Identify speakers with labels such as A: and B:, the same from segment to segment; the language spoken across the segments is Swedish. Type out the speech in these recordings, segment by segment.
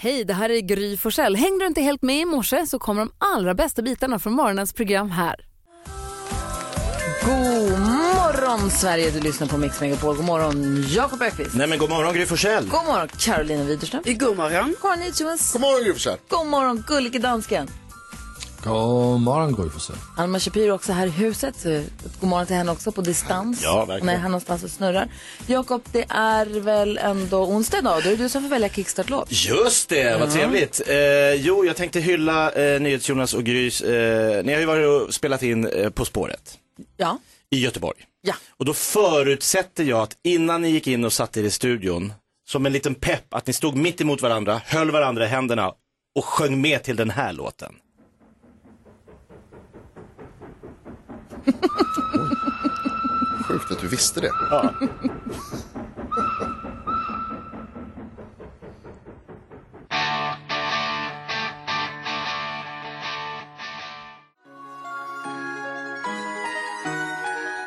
A: Hej, det här är Gry Forssell. Hängde du inte helt med i morse så kommer de allra bästa bitarna från morgonens program här. God morgon Sverige, du lyssnar på Mix Megapol. God morgon Jakob Ökvist.
B: Nej men god morgon Gry Forssell.
A: God morgon Carolina Widerström.
C: God morgon.
A: God morgon Jonas.
D: God morgon Gry Forssell.
A: God morgon gullige dansken.
E: God morgon Gry Forssell.
A: Alma Shapiro också här i huset. Så god morgon till henne också på distans.
B: Ja, verkligen.
A: Hon är här någonstans och snurrar. Jakob, det är väl ändå onsdag idag? Då är det du som får välja kickstart-låt.
B: Just det, vad trevligt. Eh, jo, jag tänkte hylla eh, NyhetsJonas och Grys. Eh, ni har ju varit och spelat in eh, På spåret
A: Ja.
B: i Göteborg.
A: Ja.
B: Och då förutsätter jag att innan ni gick in och satte er i studion, som en liten pepp, att ni stod mitt emot varandra, höll varandra i händerna och sjöng med till den här låten.
D: Sjukt att du visste det.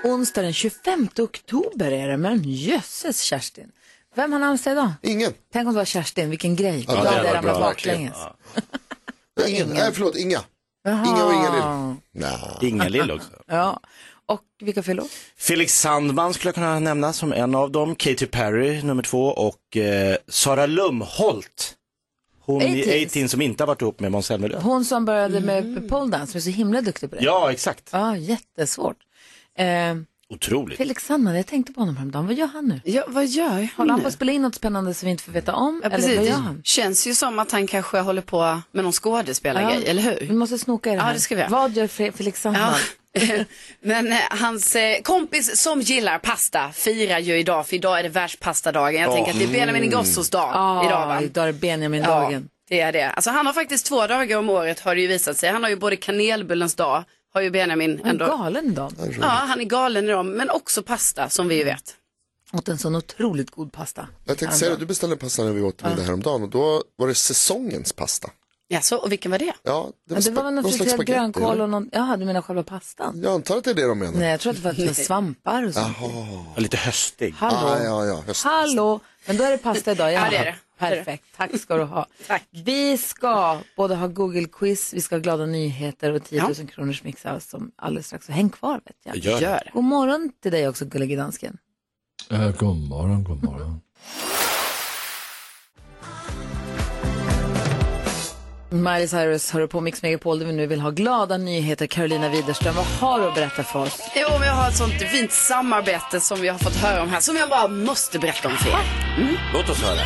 A: Onsdag den 25 oktober är det, men jösses Kerstin. Vem har namnsdag idag?
D: Ingen.
A: Tänk om det var Kerstin, vilken grej.
D: Ja,
A: Ja,
D: det
A: det
D: hade
A: hade
D: varit
A: ramlat
D: bra,
A: baklänges.
D: Ingen. Nej, förlåt, inga. Inga och ingen lill. Nej.
B: Inga Lill också.
A: Ja. Och vilka fyller år?
B: Felix Sandman skulle jag kunna nämna som en av dem, Katy Perry nummer två och eh, Sara Lumholt. Hon i
A: 18s.
B: 18 som inte har varit ihop med Måns Zelmerlöw.
A: Hon som började
C: Mm.
A: med poledance, som är så himla duktig på det.
B: Ja, exakt.
A: Ja, jättesvårt. Eh,
B: Otroligt.
A: Felix Sandman, jag tänkte på honom häromdagen. Vad gör han nu?
C: Ja, vad gör
A: Håller
C: han
A: han på
C: nu?
A: att spela in något spännande som vi inte får veta om?
C: Ja,
A: Eller
C: precis.
A: vad gör
C: Det
A: han?
C: känns ju som att han kanske håller på med någon skådespelargrej, eller
A: Vi
C: hur?
A: måste snoka i det
C: Ja,
A: här.
C: det ska vi göra.
A: Vad gör Fe- Felix Sandman?
C: Ja. Men eh, hans eh, kompis som gillar pasta firar ju idag, för idag är det världspastadagen. Jag tänker att det är
A: Mm.
C: Benjamin Ingrossos dag
A: Ah,
C: idag, va?
A: idag är det Benjamin-dagen.
C: Ja, det är det. Alltså han har faktiskt två dagar om året har det ju visat sig. Han har ju både kanelbullens dag, har ju Benjamin
A: Han är
C: ändå.
A: galen idag.
C: Ja, han är galen i dem, men också pasta som vi ju vet.
A: Åt en sån otroligt god pasta.
D: Jag tänkte säga det, du beställde en pasta när vi åt middag häromdagen och då var det säsongens pasta.
C: Ja, så, och vilken var det?
D: Ja, det
A: Men det var
D: spa-
A: väl någon friterad
D: spagetti,
A: grönkål
D: eller?
A: och någon... Jaha, du menar själva pastan?
D: Jag antar att det är det de menar.
A: Nej, jag tror att det var lite svampar och sånt.
B: Lite höstig.
A: Hallå?
D: Ah, ja, ja, höst.
A: Hallå? Men då är det pasta idag.
C: Ja, det är det.
A: Perfekt, tack ska du ha.
C: Tack.
A: Vi ska både ha Google-quiz, vi ska ha glada nyheter och 10 000
C: Ja.
A: kronors mixar som alldeles strax. Så häng kvar vet jag.
B: Gör det.
C: Gör.
A: God morgon till dig också, gullige dansken.
E: Eh, god morgon, god morgon.
A: Miley Cyrus hör på Mix Megapol där vi nu vill ha glada nyheter. Carolina Widerström, vad har du att berätta för oss?
C: Jo, men jag har ett sånt fint samarbete som vi har fått höra om här, som jag bara måste berätta om för er.
B: Låt oss höra.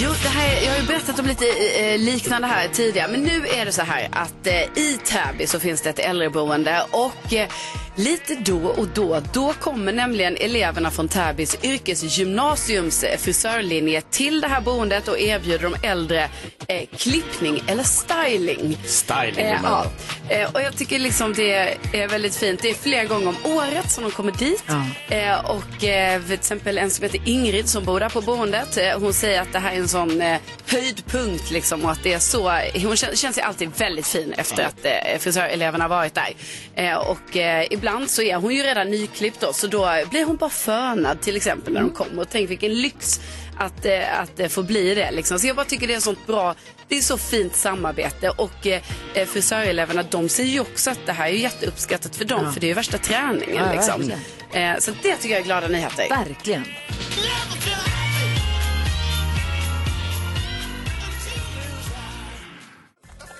C: Jo, det här, jag har ju berättat om lite eh, liknande här tidigare, men nu är det så här att eh, i Täby så finns det ett äldreboende och eh, lite då och då, då kommer nämligen eleverna från Täbys yrkesgymnasiums eh, frisörlinje till det här boendet och erbjuder de äldre eh, klippning eller styling.
B: Styling.
C: Eh,
B: ja.
C: ja. eh, och jag tycker liksom det är väldigt fint. Det är flera gånger om året som de kommer dit. Eh, och eh, till exempel en som heter Ingrid som bor där på boendet. Eh, hon säger att det här är en sån eh, höjdpunkt liksom och att det är så. Hon kän- känner sig alltid väldigt fin
A: Mm.
C: efter att eh, frisöreleverna har varit där. Eh, och eh, ibland så är hon ju redan nyklippt då så då blir hon bara fönad till exempel när de
A: Mm.
C: kommer. Och tänk vilken lyx att, eh, att eh, få bli det. Liksom. Så jag bara tycker det är sånt bra, det är så fint samarbete och eh, eh, frisöreleverna de säger ju också att det här är ju jätteuppskattat för dem för det är ju värsta träningen.
A: Ja,
C: liksom.
A: verkligen.
C: eh, så det tycker jag är glada nyheter.
A: Verkligen.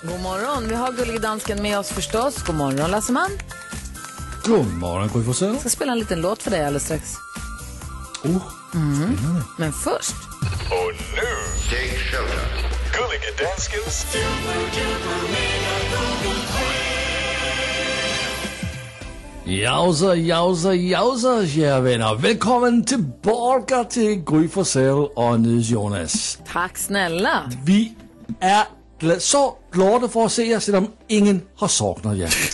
A: God morgon, vi har gullige dansken med oss förstås. God morgon Lasseman.
E: God morgon Gry Forssell.
A: Jag ska spela en liten låt för dig alldeles strax. Mm.
E: Oh, spännande.
A: Men först,
F: Och nu, Take Shelter. Gullige Danskens
E: Jausa, jausa, jausa, kära vänner. Välkommen tillbaka till Gry Forssell och Nils Jonas.
A: tack snälla.
E: Vi är gla- så glada för att se er, även om ingen har saknat er.
A: Får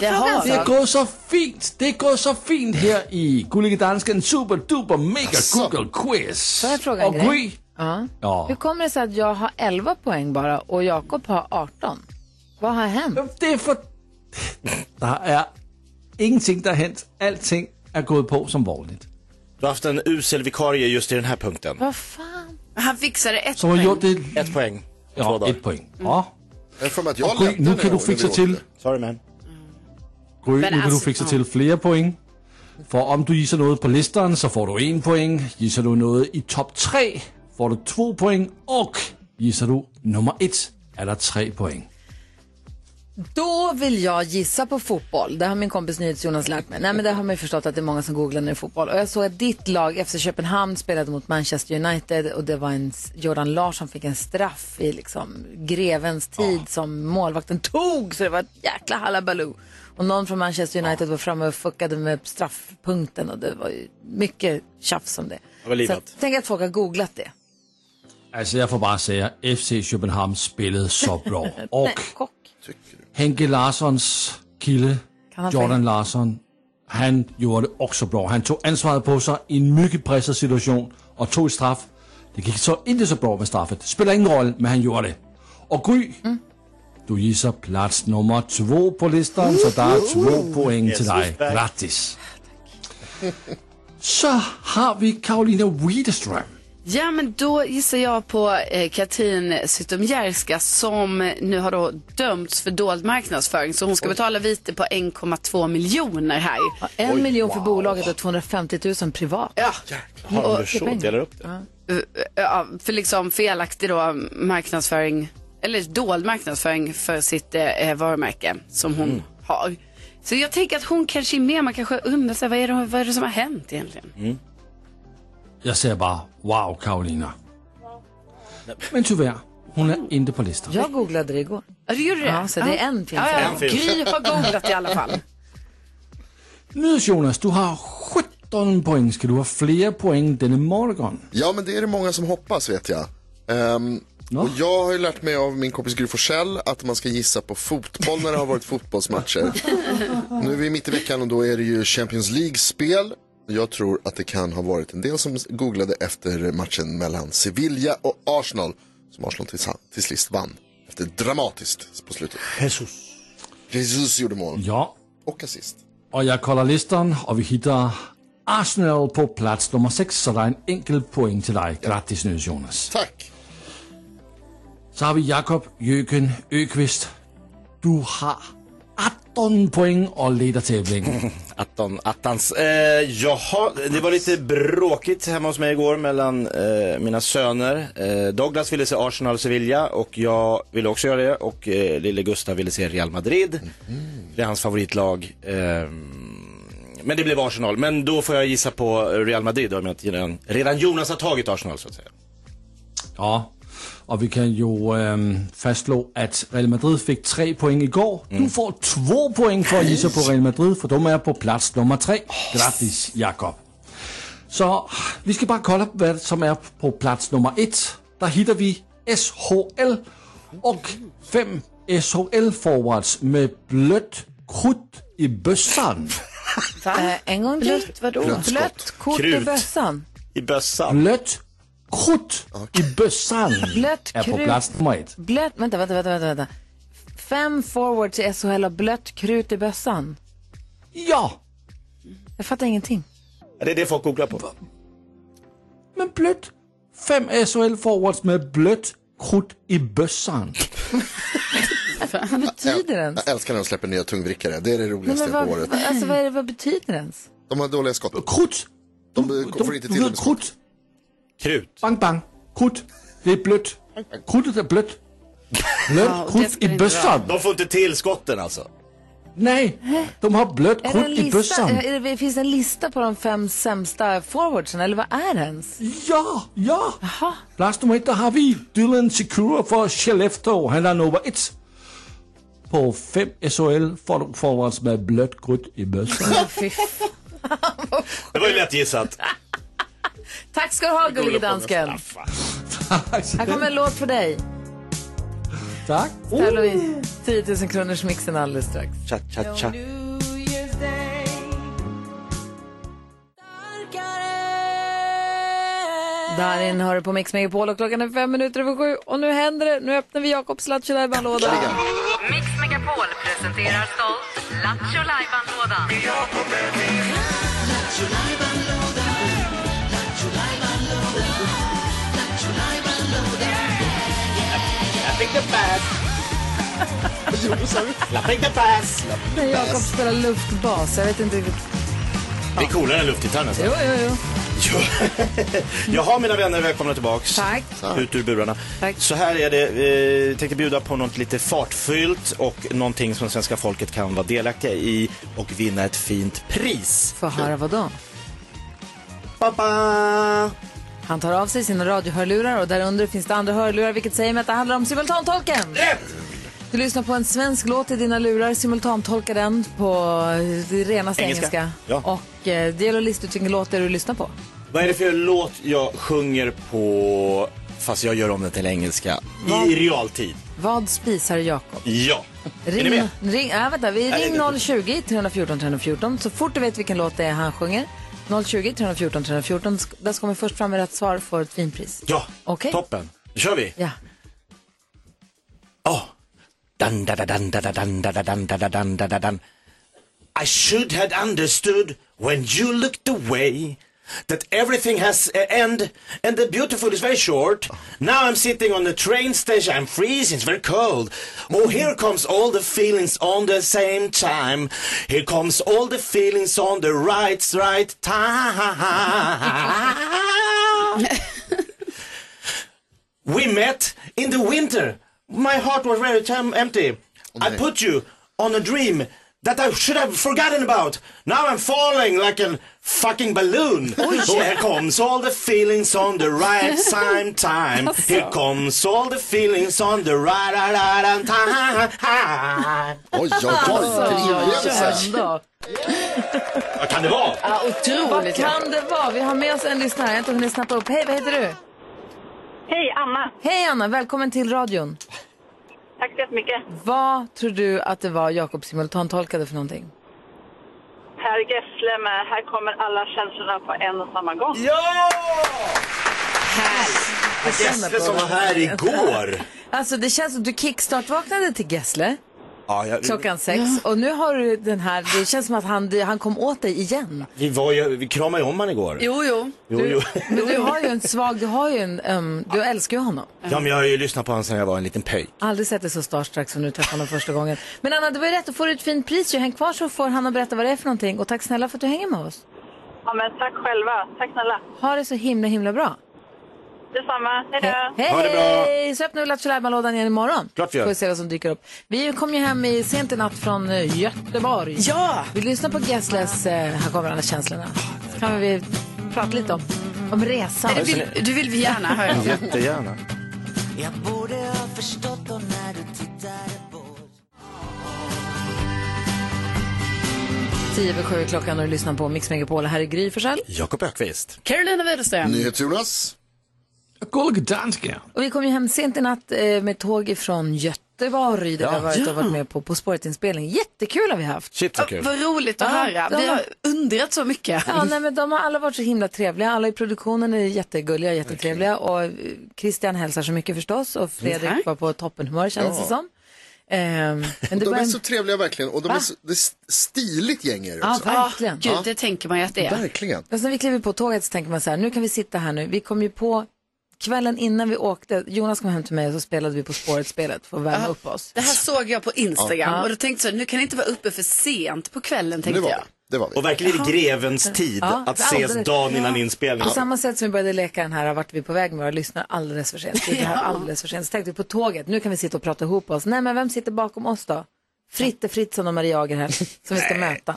C: Det
A: jag fråga en
C: har
A: sak?
E: Det går så fint, det går så fint här i Gullige Dansken Super Duper Mega Google Quiz.
A: Får jag fråga en
E: och
A: grej?
E: Gry,
A: Ja.
E: Ja.
A: Hur kommer det sig att jag har 11 poäng bara och Jakob har 18? Vad har hänt?
E: Det är för... Der er ingenting, der er hent. Alting är gått på som vanligt.
B: Du har haft en usel vikarie just i den här punkten.
A: Vad fan?
C: Han fixade ett
E: Som har
C: poäng.
E: gjort det...
B: Ett poäng, två
E: Ja,
B: dagar.
E: ett poäng. Ja.
D: Jag har för mig att jag
E: Gry,
D: lämnade
E: nu kan du
D: när vi
E: fixa
D: åkte.
E: till...
B: Sorry man.
E: Gry, nu kan du
C: alltså-
E: fixa
C: ja.
E: till flere point. For om du gissar något på listan så får du en point. Gissar du något i topp tre får du två point. Och gissar du nummer ett är det tre point.
A: Då vill jag gissa på fotboll. Det har min kompis NyhetsJonas lärt mig. Nej, men det har man ju förstått att det är många som googlar när det är fotboll. Och jag såg att ditt lag, FC Köpenhamn, spelade mot Manchester United och det var en Jordan Larsson fick en straff i liksom grevens tid som målvakten tog. Så det var ett jäkla hallabaloo. Och någon från Manchester United var framme och fuckade med straffpunkten och det var ju mycket tjafs om det.
B: Det
A: Så
B: var livat.
A: jag tänker att folk har googlat det.
E: Altså jeg får bare sige, at FC København spillede så bra. Og
A: Nej, kock.
E: Henke Larssons kilde,
A: Kan han få
E: Jordan Larsson, han gjorde det også bra. Han tog ansvaret på sig i en mycket presset situation og tog et straf. Det gik så ikke så bra med straffet. Det spiller ingen rolle, men han gjorde det. Og Gry, du gisser plads nummer to på listen, så der er to point til dig. Gratis. Så har vi Karolina Widerstrøm.
C: Ja, men då gissar jag på eh, Katrin Zytomierska som nu har då dömts för dold marknadsföring. Så hon ska betala vite på 1,2 miljoner här.
A: Ja, en miljon för bolaget och 250 000 privat.
C: Ja,
B: Har du så? Delar upp det?
C: Eh, ja, för liksom felaktig då marknadsföring, eller dold marknadsföring för sitt eh, varumärke som hon
A: Mm.
C: har. Så jag tänker att hon kanske är med, man kanske undrar sig vad är det, vad är det som har hänt egentligen?
A: Mm.
E: Jeg ser bare, wow Karolina. Men tyvärr, hun er inte på listen.
A: Jag googlade det igår.
C: Ja, du gjorde det?
A: Ja, så det är en film.
C: Ja, ja,
B: En film.
C: Gry har googlat i alla fall.
E: Nydes Jonas, du har 17 poäng. Ska du ha fler poäng denna morgon?
D: Ja, men det är det många som hoppas vet jag. Ehm, och jag har ju lärt mig av min kompis Gry Forssell att man ska gissa på fotboll när det har varit fotbollsmatcher. nu är vi mitt i veckan och då är det ju Champions League-spel. Jag tror att det kan ha varit en del som googlade efter matchen mellan Sevilla och Arsenal. Som Arsenal till, till sist vann. Efter dramatiskt på slutet.
B: Jesus.
D: Jesus gjorde mål.
E: Ja.
D: Och assist.
E: Och jag kollar listan och vi hittar Arsenal på plats nummer 6, så det är en enkel poäng till dig. Grattis Nydes Jonas.
D: Tack!
E: Så har vi Jakob Jöken Öqvist. Du har 18 poäng och leder tävlingen.
B: Attan, attans. Eh, jaha, det var lite bråkigt hemma hos mig igår mellan eh, mina söner. Eh, Douglas ville se Arsenal Sevilla och jag ville också göra det och eh, lille Gustav ville se Real Madrid. Det är hans favoritlag. Eh, men det blev Arsenal. Men då får jag gissa på Real Madrid då, om jag inte redan, redan Jonas har tagit Arsenal så att säga.
E: Ja. Och vi kan ju ähm, fastslå att Real Madrid fick 3 poäng igår. Du får 2 poäng för att gissa på Real Madrid, för de är på plats nummer 3. Grattis Jakob. Så vi ska bara kolla vad som är på plats nummer ett. Där hittar vi SHL och fem SHL forwards med blött krutt i bössan.
A: Eh, en gång till. Blött, vadå? Blött, kort i
B: Krut.
A: bössan.
B: I bössan.
E: Blött krutt i bössan
A: Blött
E: är på
A: krut.
E: plats nummer ett.
A: Blött, vänta, vänta, vänta, vänta, vänta. Fem forwards i SHL har blött krut i bössan.
E: Ja,
A: Jag fattar ingenting.
B: Det är det folk googlar på.
E: men blött. Fem SHL forwards med blött krutt i bössan.
A: Vad betyder det ens?
D: Jag älskar när de släpper nya tungvrickare. Det är det
A: Nej,
D: roligaste
A: men vad,
D: på året.
A: alltså, vad, är det, vad betyder det ens?
D: De har dåliga skott.
E: Krutt.
D: De, får inte till det med
E: blött
D: skott.
E: krutt.
B: Krut.
E: Bang, bang. Krutt. Det är blött. Kruttet är blött.
C: Ja,
E: Blött
C: och det
E: krutt
C: ska det
E: i
C: inte
E: bössan.
B: De får inte till skotten alltså.
E: Nej, de har blött
A: Är det en
E: krutt i
A: lista,
E: bössan.
A: är det, finns det en lista på de fem sämsta forwardsen, eller vad är det ens?
E: Ja, ja. Plats nummer ett, där har vi Dylan Secura för Skellefteå. Han är nummer ett. På fem SHL får- forwards med blött krutt i bössan.
A: Fy fan.
B: Det var ju lätt gissat.
A: Tack ska du ha, gullige dansken. Här kommer en låt för dig.
E: Tack.
A: Här har vi 10 000 kronors mixen alldeles strax.
B: Cha, cha, cha.
A: Darin hör på Mix Megapol och klockan är fem minuter över sju och nu händer det. Nu öppnar vi Jakobs Lattjo-lajban-låda.
G: Mix Megapol presenterar stolt Lattjo Lajban-lådan.
A: När Jakob spelar luftbas, jag vet inte riktigt.
B: Det är coolare än luftgitarr nästan.
A: Jo, jo, jo.
B: Jo. Jaha mina vänner, välkomna tillbaks.
A: Tack.
B: Ut ur burarna.
A: Tack.
B: Så här är det, eh, jag tänkte bjuda på något lite fartfyllt och någonting som svenska folket kan vara delaktiga i och vinna ett fint pris.
A: Får höra vad då?
B: Ba-ba!
A: Han tar av sig sina radiohörlurar och därunder finns det andra hörlurar vilket säger mig att det handlar om simultantolken. Du lyssnar på en svensk låt i dina lurar, simultantolkar den på eh, det renaste
B: Engelska.
A: engelska.
B: Ja.
A: Och eh, det gäller att lista ut vilken låt det är du lyssnar på.
B: Vad är det för låt jag sjunger på, fast jag gör om den till engelska, i realtid?
A: Vad spisar Jakob?
B: Ja. Är ni
A: Ring,
B: med?
A: ring, äh, vänta, vi
B: Nej,
A: ring
B: det är
A: 020-314 314. Så fort du vet vilken låt det är han sjunger, 020-314 314. Sk- Den som kommer först fram med rätt svar får ett fint pris.
B: Ja,
A: Okej.
B: toppen. Då kör vi.
A: Ja.
B: Oh. Dun, da, da, dun, da, da, dun, da, da, dun, da, da, dun, da, da, dun. I should have understood when you looked away that everything has an end and the beautiful is very short. Now I'm sitting on the train station, I'm freezing, it's very cold. Oh, here comes all the feelings on the same time. Here comes all the feelings on the right, right time. We met in the winter. My heart was very tem- empty. I put you on a dream that I should have forgotten about. Now I'm falling like a fucking balloon. Oh, here comes all the feelings on the right same time. Here comes all the feelings on the right, right, right time.
D: Oj, oj, oj.
A: Alltså.
D: Vilken inlevelse.
A: Ändå.
B: Vad kan det vara?
C: Ja, otroligt.
A: Vad kan det vara? Vi har med oss en lyssnare. Jag har inte hunnit snappa upp. Hej, vad heter du?
G: Hej, Anna.
A: Hej Anna, välkommen till radion.
G: Tack så jättemycket.
A: Vad tror du att det var Jakob simultantolkade för någonting?
G: Per Gessle med Här kommer alla känslorna på en och samma gång.
B: Ja!
C: Här.
B: Gäster som var här igår.
A: Alltså det känns som du kickstart-vaknade till Gessle
B: Mm. Ja, jag,
A: klockan sex och nu har du den här, det känns som att han, han kom åt dig igen.
B: vi, var ju, vi kramade ju om han igår.
C: Jo, jo.
B: Jo, jo.
A: Men du har ju en svag, du har ju en, ehm, du älskar ju honom.
B: Ja, men jag har ju lyssnat på honom sedan jag var en liten pöjk.
A: Aldrig sett dig så starstruck som nu träffade honom första gången. Men Anna, det var ju rätt, du får ett fint pris ju. Häng kvar så får Hanna berätta vad det är för någonting och tack snälla för att du hänger med oss.
G: Ja, men tack själva. Tack snälla.
A: Ha det så himla himla bra.
G: Detsamma. Hej
A: Hej!
G: då.
B: Ha det bra.
A: Så öppnar vi Lattjo Lajban-lådan igen imorgon.
B: Klart vi gör.
A: Får vi se vad som dyker upp. Vi kom ju hem i sent i natt från eh, Göteborg.
C: Ja!
A: Vi lyssnar på Gessles eh, Här kommer alla känslorna. Så kan vi prata lite om, om resan.
C: Det vill, du vill vi gärna höra.
B: Jättegärna.
A: Tio över sju är klockan och du lyssnar på Mix Megapol. Här är Gry Forssell.
B: Jakob Ökvist.
C: Carolina Widerström.
D: NyhetsJonas.
E: Gullige dansker.
A: Och vi kom ju hem sent i natt eh, med tåg ifrån Göteborg där vi har varit och varit med på På spåret-inspelning. Jättekul har vi haft.
B: Shit vad kul.
C: Vad roligt att
A: Ja,
C: höra.
A: de-
C: Vi har undrat så mycket.
A: Ja, nej, men de har alla varit så himla trevliga. Alla i produktionen är jättegulliga, jättetrevliga. Och eh, Christian hälsar så mycket förstås. Och Fredrik
C: Tack.
A: var på toppenhumör kändes det som. Ehm, men det
D: De
A: var
D: är
A: en...
D: så trevliga verkligen. Och de är
A: Va?
D: så, det är stiligt gäng är det
A: Ja,
D: också.
A: verkligen.
C: Gud, det tänker man ju att det är.
D: Verkligen.
A: Fast när vi kliver på tåget så tänker man så här, nu kan vi sitta här nu. Vi kom ju på kvällen innan vi åkte, Jonas kom hem till mig och så spelade vi På spåret-spelet för att värma upp oss.
C: Det här såg jag på Instagram och då tänkte jag nu kan jag inte vara uppe för sent på kvällen
D: Det
C: tänkte
D: var
C: jag.
D: vi. Det var vi.
B: Och verkligen i grevens tid
A: Ja,
B: att
A: alldeles.
B: ses dagen innan inspelningen.
A: På samma sätt som vi började leka den här, vart vi på väg med våra lyssnare alldeles för sent. Vi är här alldeles för sent. Så tänkte vi på tåget, nu kan vi sitta och prata ihop oss. Nej, men vem sitter bakom oss då? Fritte Fritzson och Maria Agerhäll som vi ska möta.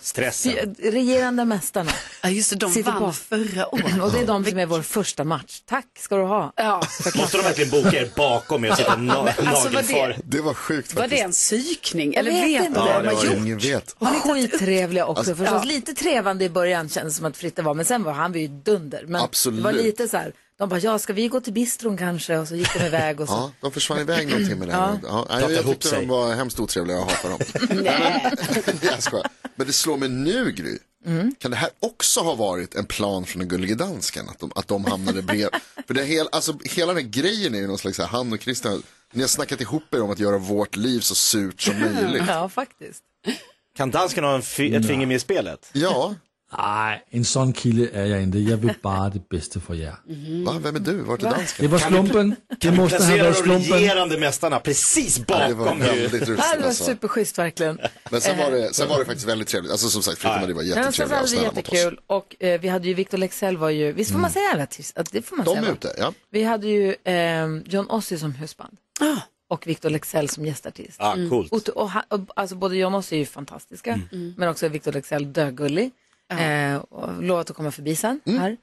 B: Stressen.
A: Fy- Regerande mästarna.
C: Ja just det, de
A: Sitter
C: vann
A: på.
C: förra året.
A: Och det är de som är vår första match. Tack ska du ha.
C: Ja.
B: Måste de verkligen boka er bakom er och sitta na
C: alltså, vad det-
B: nagelfar?
D: Det var sjukt
C: Var det
D: faktiskt.
C: en psykning? Eller
A: vet
C: vet
A: inte.
C: du?
B: Ja, det var
C: Vad
B: det.
C: gjorde-
D: Ingen vet.
A: Han är
D: Alltså,
A: skittrevliga också förstås. Lite trevande i början kändes som att Fritte var, men sen var han var ju dunder. Men
D: Absolut.
A: det var lite så här, de bara, ja ska vi gå till bistron kanske? Och så gick de iväg och så.
D: Ja, de försvann iväg någon timme där. Ja. Ja, jag, jag
B: ihop
D: tyckte
B: sig.
D: de var hemskt otrevliga, jag hatar dem. Nej. Men, jag skojar. Men det slår mig nu, Gry. Kan det här också ha varit en plan från den gullige dansken? Att de, att de hamnade brev... För det är hel, alltså, hela den här grejen är ju någon slags, så här, han och Christian, ni har snackat ihop er om att göra vårt liv så surt som möjligt.
A: Ja, faktiskt.
B: Kan dansken ha en fi- ett finger med i spelet?
D: Ja,
E: Nej, en sådan kilde er jeg ikke. Jeg vil bare det bedste for jer.
D: Va? Vem är du? Vart är dansken?
E: Det var slumpen. Det måste have
B: Placera
E: været
B: de
E: slumpen.
B: regerande mästarna precis
D: Ja, Det var
B: bakom
D: väldigt
B: ju.
D: rustigt
A: Det var
D: alltså.
A: superschysst verkligen.
D: Men sen var, det, sen var det faktiskt väldigt trevligt. Alltså som sagt, Frida Marie var
A: Men sen
D: jättetrevlig
A: hade
D: och
A: vi
D: snälla mot oss. Mm.
A: jättekul och eh, vi hade ju Victor Lexell var ju, visst får man säga alla tis- att det får man
D: De
A: säga
D: är
A: va?
D: ute, ja.
A: Vi hade ju eh, John Ossie som husband
D: Ah.
A: och Victor Lexell som gästartist.
B: Ja, coolt.
A: Mm. Och, och, han- och, alltså både John Ossie är ju fantastiska
D: Mm.
A: men också Victor Lexell dögullig.
D: Ah.
A: Eh, och lovat att komma förbi sen
D: Mm.
A: här.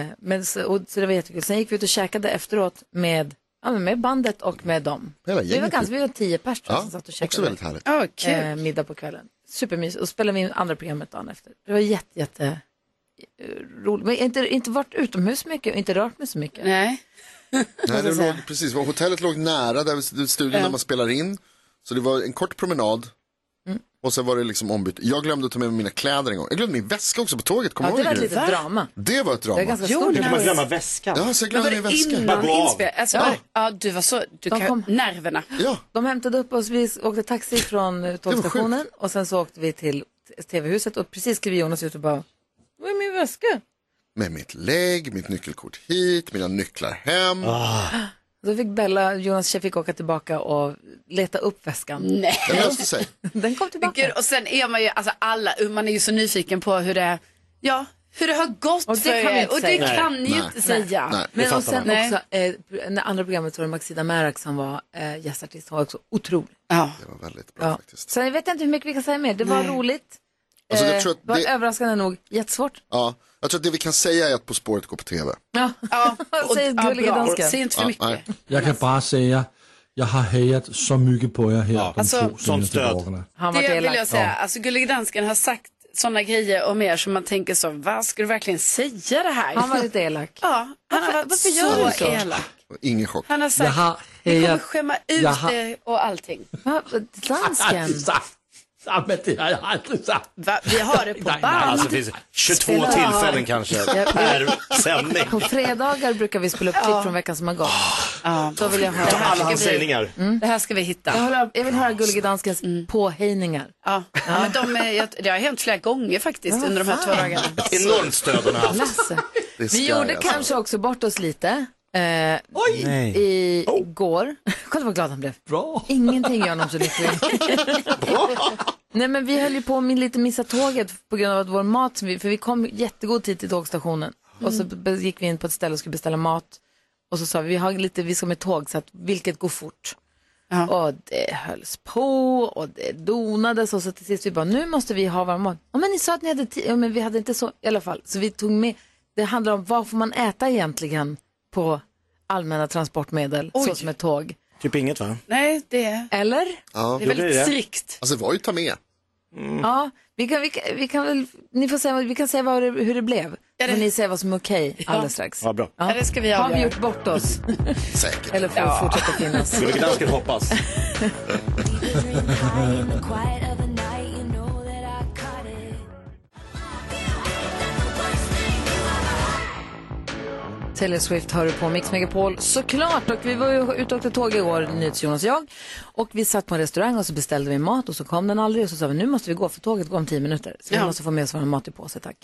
A: Eh, men, så, och, så det var jättekul. Sen gick vi ut och käkade efteråt med, ja, men med bandet och med dem.
D: Hela
A: vi var
D: gänget,
A: ganska, vi var tio pers tror jag,
D: Ja,
A: som satt och käkade.
D: också väldigt härligt.
C: Ja, kul.
A: eh, middag på kvällen. Supermys. Och spelade vi in andra programmet dagen efter. Det var jätte, jätte eh, roligt. Men jag har inte, inte varit utomhus mycket och inte rört mig så mycket.
C: Nej.
D: Nej, det låg, precis. Hotellet låg nära där studion där man spelar in. Så det var en kort promenad.
A: Mm.
D: Och sen var det liksom ombytt. Jag glömde att ta med mig mina kläder en gång. Jag glömde min väska också på tåget. Kommer
A: Ja,
D: du
A: det
D: ihåg
A: var ett
D: det?
A: litet drama.
D: Det var ett
A: Det var
D: drama.
A: ganska
C: Jo,
A: stort.
C: nej.
B: Man glömmer väskan.
D: Ja, så jag
C: Men var
D: glömde min
C: det
D: väska.
C: innan
B: Bara gå av.
C: inspelningen? Alltså,
A: Ja.
C: ja. ja, du var så... Du
A: De
C: kan,
A: kom-
C: Nerverna.
D: Ja,
A: De hämtade upp oss, vi åkte taxi från eh, tågstationen och sen så åkte vi till t- TV-huset och precis klev Jonas ut och bara, var är min väska?
D: med mitt lägg, mitt nyckelkort hit, mina nycklar hem.
A: Ah. Då fick Bella, Jonas tjej fick åka tillbaka och leta upp väskan.
C: Nej.
D: Det löste sig.
A: Den kom
C: Mm. Men Gud,
A: tillbaka.
C: och sen är man ju, alltså alla, man är ju så nyfiken på hur det, ja, hur det har gått
A: Och det
C: för
A: kan vi
C: er.
A: inte
C: Och det
A: säga.
B: Nej.
C: kan ni ju
D: Nej.
C: inte säga.
D: Nej.
A: Ah. Men och
B: fattar
A: sen
C: man.
A: också, eh, när andra programmet så var det Maxida Märak som var eh, gästartist, hon var också otrolig.
C: Ja.
D: Det var väldigt bra
A: Ja.
D: faktiskt.
A: Sen vet jag inte hur mycket vi kan säga mer. Det var roligt.
D: Alltså,
A: Eh,
D: jag, tror att
A: det var
D: det,
A: överraskande nog jättesvårt.
D: ja, jag tror att det vi kan säga är att På spåret går på tv.
A: Ja.
C: Ja,
A: Vad säger
C: ja,
A: gulliga
C: bra.
A: dansken?
C: Säg inte för
D: Ja,
C: mycket.
D: nej.
E: Jeg kan bare sige, jeg har hejat så mycket på jer her de
C: Altså,
E: to
B: som
E: seneste
B: stød.
E: dagene.
A: Han var
C: Det vill jag
A: elak.
C: säga, alltså gullig dansken har sagt sådana grejer om er som man tänker så, vad ska du verkligen säga det här?
A: Han var lite elak.
C: Ja, han har varit
A: varför
C: varför
A: gör
C: så,
A: du så?
C: elak.
D: Ingen chock.
C: Han har
E: Jeg
C: sagt,
E: har
C: vi kommer øh,
E: hejat...
C: skämma ut
E: Jag har-
C: dig och allting.
A: Va? eh, Dansken?
E: Nej, men det har jag aldrig sagt.
C: Va? Vi har det på
E: Nej, nej,
C: band.
B: Alltså det finns 22
A: Spela.
B: tillfällen kanske per sändning.
A: På fredagar brukar vi spela upp klipp från veckan som har gått. Då vill jag höra.
B: Ta alla hans sägningar.
A: Mm.
C: Det här ska vi
A: Jag,
C: hitta.
A: hör, jag vill höra Gullige Danskens
C: Mm.
A: påhejningar.
C: Ja. Ja, men de, är- jag, det har hänt flera gånger faktiskt under de här två dagarna.
B: Enormt stöd hon har haft.
A: Lasse.
D: Det
A: Vi
D: är sky,
A: gjorde
D: alltså.
A: kanske också bort oss lite. Eh,
B: Nej.
A: I går. Kolla vad glad han blev.
E: Bra.
A: Ingenting gör honom så lycklig. Nej men vi höll ju på att lite missa tåget på grund av att vår mat, som vi- för vi kom jättegod tid till tågstationen. Och så be- gick vi in på ett ställe och skulle beställa mat. Och så sa vi, vi, har lite, vi ska med tåg så att vilket går fort.
C: Ja.
A: Och det hölls på och det donades och så till sist vi bara, nu måste vi ha vår mat. Ja men ni sa att ni hade tid, ja, men vi hade inte så i alla fall. Så vi tog med, det handlar om vad får man äta egentligen på allmänna transportmedel, så som ett tåg.
B: Typ inget va?
C: Nej, det,
A: Eller?
D: Ja.
C: det är väldigt
B: det är det.
C: strikt.
D: Alltså det var ju ta med.
A: Mm. Ja, vi kan, vi kan, vi kan väl, ni får säga, vad- vi kan säga vad det, hur det blev.
C: Ja, det-
A: Men ni säger vad som är okej alldeles strax.
B: Ja, bra.
C: Ja, det ska vi
A: Har vi
C: avgöra.
A: gjort bort oss?
D: Säkert.
A: Eller får vi fortsätta finnas?
B: Gullige dansken hoppas.
A: Taylor Swift hör du på Mix Megapol såklart. Och vi var ju ute och åkte tåg igår, NyhetsJonas och jag. Och vi satt på en restaurang och så beställde vi mat och så kom den aldrig. Och så sa vi nu måste vi gå för tåget går om tio minuter. Så vi
C: Ja.
A: måste få med oss vår mat i påse tack.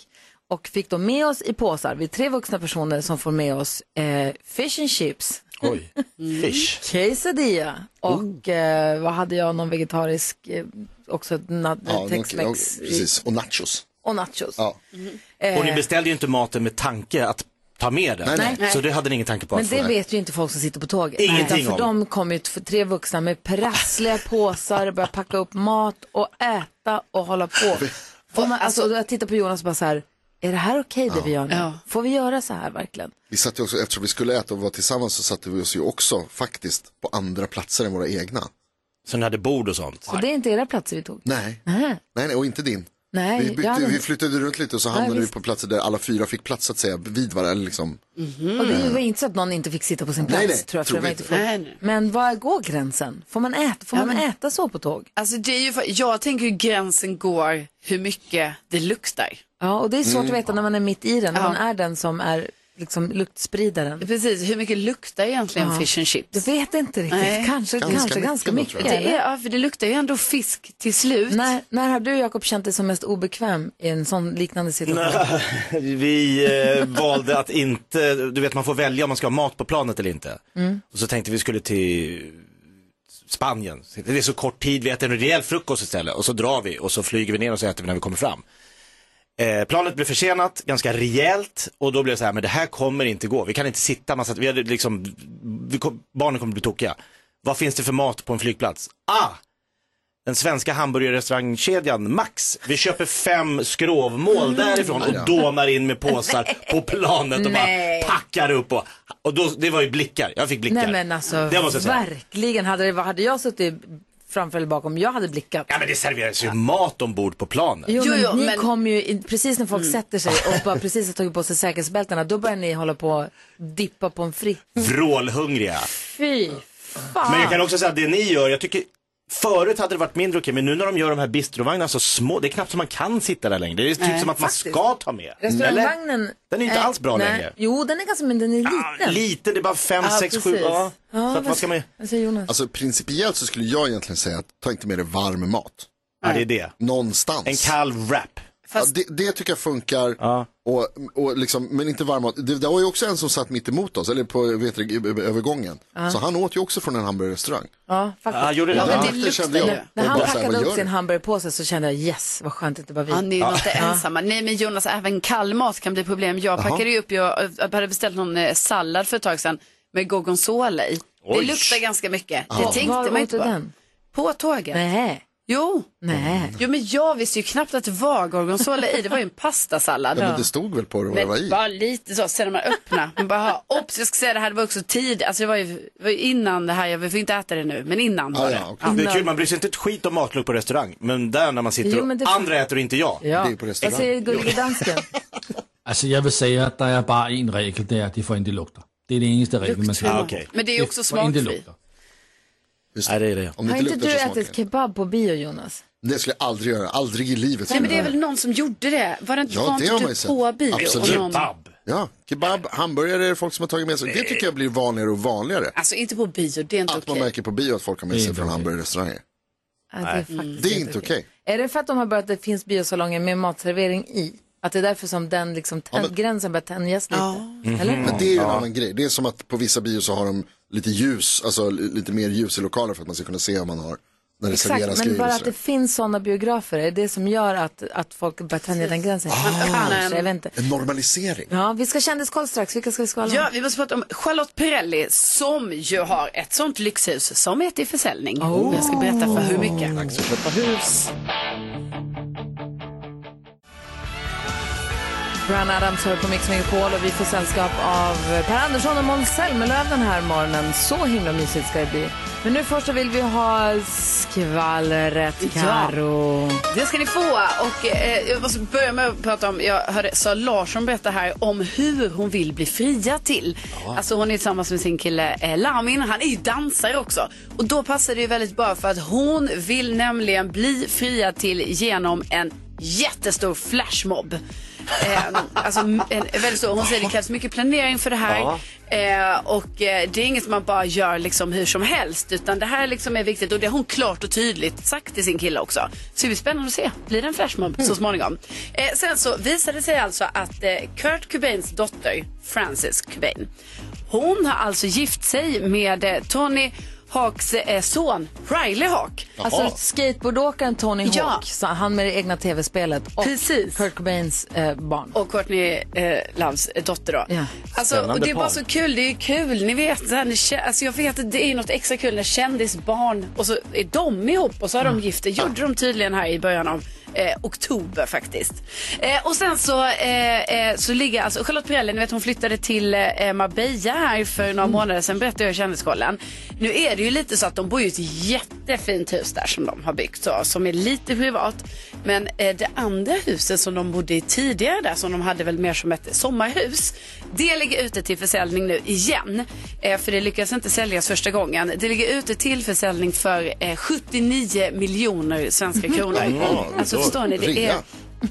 A: Och fick då med oss i påsar, vi är tre vuxna personer som får med oss eh, fish and chips.
B: Oj.
A: Mm.
B: Fish.
A: quesadilla och eh, vad hade jag, någon vegetarisk eh, också, na-
D: Ja, någon-
A: Eh, tex-mex
D: ja, precis. Och nachos.
A: och nachos.
D: Ja.
B: Och ni beställde ju inte maten med tanke att ta med den.
D: Nej,
B: Så det hade ni ingen tanke på
A: Men
B: att få.
A: det vet ju inte folk som sitter på tåget.
B: Ingenting
A: Utan för
B: om.
A: dem kommer ju t- tre vuxna med prassliga påsar, börja packa upp mat och äta och hålla på. Får man, alltså, och jag tittar på Jonas och bara så här, är det här okej det vi gör nu?
C: Ja.
A: Får vi göra så här verkligen?
D: Vi satt ju också, eftersom vi skulle äta och vara tillsammans så satte vi oss ju också faktiskt på andra platser än våra egna.
B: Så ni hade bord och sånt.
A: Så det är inte era platser vi tog.
D: Nej,
A: Nej,
D: nej, nej och inte din.
A: Nej
D: vi,
A: jag hade
D: bytte, vi
A: inte-
D: flyttade runt lite och så hamnade vi
A: visst.
D: på platser där alla fyra fick plats så att säga vid varandra. eller Liksom.
A: Och det var inte så att någon inte fick sitta på sin plats,
D: Nej, nej,
A: tror jag. För det
D: tror
A: var
D: vi
A: inte
D: inte.
A: folk.
C: Nej, nej.
A: Men var går gränsen? Får man äta, får man äta så på tåg?
C: Alltså, det är ju, för- jag tänker hur gränsen går hur mycket det luktar.
D: Mm.
A: Ja, och det är svårt att veta när man är mitt i den, när man är den som är liksom, luktspridaren?
C: Precis, hur mycket luktar egentligen
A: Ja.
C: fish and chips?
A: Jag vet inte riktigt.
C: Nej.
A: Kanske,
D: Ganska
A: kanske
D: mycket
A: ganska
D: då,
A: mycket.
D: tror
C: Det,
A: eller?
C: är, ja, för det luktar ju ändå fisk till slut.
A: När, när har du, Jakob, känt dig som mest obekväm i en sån liknande situation?
B: Vi eh, valde att inte, du vet man får välja om man ska ha mat på planet eller inte. Och så tänkte vi skulle till Spanien. Så Det är så kort tid, vi äter en rejäl frukost istället och så drar vi och så flyger vi ner och så äter vi när vi kommer fram. Eh, planet blev försenat ganska rejält och då blev det så här, men det här kommer inte gå. Vi kan inte sitta massa, vi hade liksom, vi kom, barnen kommer bli tokiga. Vad finns det för mat på en flygplats? Ah! Den svenska hamburgerrestaurangkedjan Max. Vi köper fem
A: Mm.
B: skrovmål därifrån och dånar in med påsar på planet och
A: Nej.
B: bara packar upp och, och då, det var ju blickar. Jag fick blickar.
A: Nej men alltså,
B: det måste jag säga.
A: verkligen. Hade, det, hade jag suttit framför eller bakom, jag hade blickat.
B: Ja men det serveras ju mat ombord på planet.
A: Jo,
C: Jo,
A: men
C: jo,
A: ni
C: men- Mm.
A: kom ju in, precis när folk sätter sig och bara precis har tagit på sig säkerhetsbältena, då börjar ni hålla på och dippa på en fritt.
B: Vrålhungriga.
A: Fy fan.
B: Men jag kan också säga att det ni gör, jag tycker Förut hade det varit mindre okej, men nu när de gör de här bistrovagnarna så små, det är knappt som man kan sitta där längre. Det är typ som att man ska ta med.
A: Restaurangvagnen.
B: Den är ju inte
A: eh,
B: alls bra
A: nej.
B: längre.
A: Jo, den är ganska, men den är
B: Eller? Ah,
A: liten.
B: liten, det är bara fem,
A: Ja,
B: sex, sju.
A: precis.
B: Ja.
A: Ja,
B: så att, vad ska man ju-
A: Alltså Jonas.
D: Alltså principiellt så skulle jag egentligen säga att ta inte med dig varm mat.
B: ja, det är det.
D: Någonstans.
B: En kall wrap.
C: Fast-
D: Ja, det, det tycker jag funkar, och, och liksom, men inte varm mat. Det, det var ju också en som satt mitt emot oss, eller på vet du, övergången. Så han åt ju också från en hamburgerrestaurang.
A: Ja, faktiskt.
B: Ja, gjorde det.
C: Ja, men
B: Ja.
C: det
D: det kände
C: luktar
D: jag.
C: ju.
A: När
D: Jag
A: han
D: bara så här,
A: packade
D: vad
A: upp
D: gör
A: sin
D: du?
A: hamburgerpåse så kände jag yes, vad skönt inte bara vi.
C: Ja, ni var inte ensamma. Nej, men Jonas, även kall mat kan bli problem. Jag packade ju upp, jag, jag hade beställt någon eh, sallad för ett tag sedan med gorgonzola i. Det
B: Oj.
C: luktar ganska mycket. Det
A: Var
C: tänkte man
A: åt
C: inte
A: du
C: på.
A: den?
C: På tåget.
A: Nej,
C: Jo.
D: Mm.
A: nej.
C: jo, men jag visste ju knappt att det var gorgonzola i. Det var ju en pastasallad.
D: Men det stod väl på det vad det var
C: Men
D: i?
C: bara lite så, sen när man öppnar. Man bara, ha, ops, jag ska säga det här, det var också tid. Alltså det var ju, det var ju innan det här, jag får inte äta det nu, men innan var
D: Ah,
C: det.
D: ja, okej.
B: Det är kul, man bryr sig inte ett skit om matlukt på restaurang. Men där när man sitter
A: Jo, men det-
B: och andra äter och inte jag.
A: Ja.
D: Det är på restaurang.
A: Vad säger gullige dansken?
E: Altså, jeg vil sige, at der er bare en regel, det er, at det får inte lugter. Det er det eneste regel, man
B: Ah,
E: skal.
B: okej.
C: Mm. Men det är ju också
E: får inte
C: smakfri.
E: lukter.
B: Nej, det är det.
D: Om det
A: Har inte
D: luktar
A: du
D: så smakar
A: ätit
D: det.
A: kebab på bio, Jonas?
D: Det skulle jag aldrig göra, aldrig i livet.
C: Nej, men det är
D: skulle
C: väl
D: jag
C: någon som gjorde det? Var det inte,
D: Ja,
C: var
D: det
C: inte
D: har
C: du
D: man ju sett.
C: på bio?
D: Absolut.
C: Och någon-
B: Kebab.
D: göra. Ja, kebab, hamburgare, folk som har tagit med sig. Det tycker jag blir vanligare och vanligare.
C: Alltså inte på bio, det är inte
D: Att man
C: okej.
D: märker på bio att folk har med sig från hamburgerrestauranger.
A: Ja, det, är faktiskt
D: Mm. Det är inte okej.
A: Är det för att de har börjat, det finns biosalonger med matservering i? Att det är därför som den liksom, tän- gränsen börjar tänjas lite? Eller?
D: Men det är ju en annan grej. Det är som att på vissa bio så har de lite ljus, alltså li- lite mer ljus i lokaler för att man ska kunna se vad man har när det serveras
A: Exakt, men
D: grejer. och
A: bara att
D: sådär.
A: det finns sådana biografer, är det det som gör att, att folk börjar tänja den gränsen?
D: Ah.
A: Kanske, jag vet inte.
D: En normalisering.
A: Ja, vi ska kändiskoll strax, vilka ska vi skvallra om?
C: Ja, vi måste prata om Charlotte Perrelli som ju har ett sånt lyxhus som är till försäljning. Jag ska berätta för hur mycket.
A: Brian Adams hör på Mix Megapol och vi får sällskap av Per Andersson och Måns Zelmerlöw den här morgonen. Så himla mysigt ska det bli. Men nu först så vill vi ha skvallret,
C: Ja.
A: Karo.
C: Det ska ni få. Och eh, jag måste börja med att prata om, jag hörde Sara Larsson berätta här om hur hon vill bli fria till. Alltså hon är tillsammans med sin kille eh, Lamin, han är ju dansare också. Och då passar det ju väldigt bra för att hon vill nämligen bli fria till genom en jättestor flashmob. Eh, alltså, en, en, väldigt stor. Hon säger det krävs mycket planering för det här. Eh, och eh, det är inget man bara gör liksom hur som helst utan det här liksom är viktigt och det har hon klart och tydligt sagt till sin kille också. Så det blir spännande att se. Blir det en flashmob så småningom? Eh, sen så visade det sig alltså att eh, Kurt Cobains dotter Frances Cobain hon har alltså gift sig med eh, Tony Hawks eh, son Riley Hawk.
A: Alltså skateboardåkaren Tony
C: Ja.
A: Hawk, så han med det egna tv-spelet och
C: Precis.
A: Kurt Cobains eh, barn.
C: och Courtney eh, Loves dotter då.
A: Ja.
C: Alltså,
B: Spännande
C: och det är bara
B: par.
C: så kul, det är ju kul. Ni vet, så här, ni kä- alltså, jag vet att det är något extra kul när kändisbarn och så är de ihop och så har de gift det. gjorde de tydligen här i början av eh, oktober faktiskt. Eh, och sen så, eh, eh, så ligger alltså Charlotte Perrelli, ni vet hon flyttade till eh, Marbella här för några månader sedan berättade jag i Kändiskollen. Nu är det ju lite så att de bor ju i ett jättefint hus där som de har byggt så, som är lite privat. Men eh, det andra huset som de bodde i tidigare där som de hade väl mer som ett sommarhus. Det ligger ute till försäljning nu igen. Eh, för det lyckades inte säljas första gången. Det ligger ute till försäljning för eh, 79 miljoner svenska kronor.
D: Mm. Ja,
C: alltså
D: då-
C: förstår ni, det är
D: rea.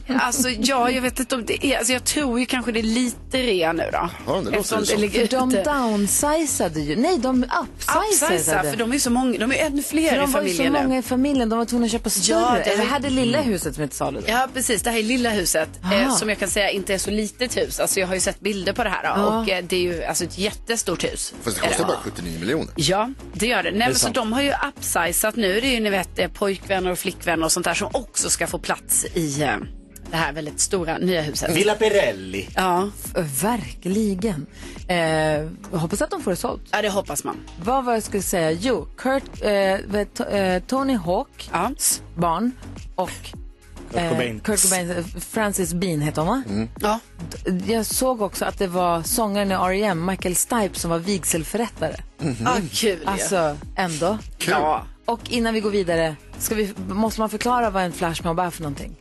C: Alltså, ja, jag vet inte om det är... Alltså, jag tror ju kanske det är lite rea nu då.
D: Ja, det låter
C: Eftersom
D: det som.
C: ligger
A: För de
C: ute.
A: downsizade ju. Nej, de upsizade.
C: Upsiza, för de är ju så många, de är ännu
A: För
C: fler i
A: de var ju så
C: familjen nu.
A: många i familjen, de var tvungna att köpa större. Ja, det
C: det- Mm.
A: Eller hade lilla huset som är till salu.
C: Ja, precis. Det här är lilla huset eh, som jag kan säga inte är så litet hus. Alltså, jag har ju sett bilder på det här då, och eh, det är ju alltså, ett jättestort hus.
D: Fast det
C: Är
D: kostar bara 79 miljoner.
C: Ja, det gör det. Nej, men så
B: sant.
C: de har ju upsizat nu. Det är ju ni vet eh, pojkvänner och flickvänner och sånt där som också ska få plats i eh, det här väldigt stora nya huset.
B: Villa Pirelli.
C: Ja,
A: Verkligen. Eh, jag hoppas att de får det sålt.
C: ja, det hoppas man.
A: Vad var jag skulle säga? Jo, Kurt, eh, vet- eh, Tony Hawk,
C: Ja.
A: barn och eh,
B: Cobain. Mm.
A: Kurt Cobain, eh, Frances Bean heter hon va?
C: Ja.
A: D- Jag såg också att det var sångaren i R.E.M. Michael Stipe som var vigselförrättare.
D: Mhm.
C: Ah, kul ju.
A: Alltså, ändå.
C: Ja.
A: Och innan vi går vidare, ska vi, måste man förklara vad en flashmob är för någonting?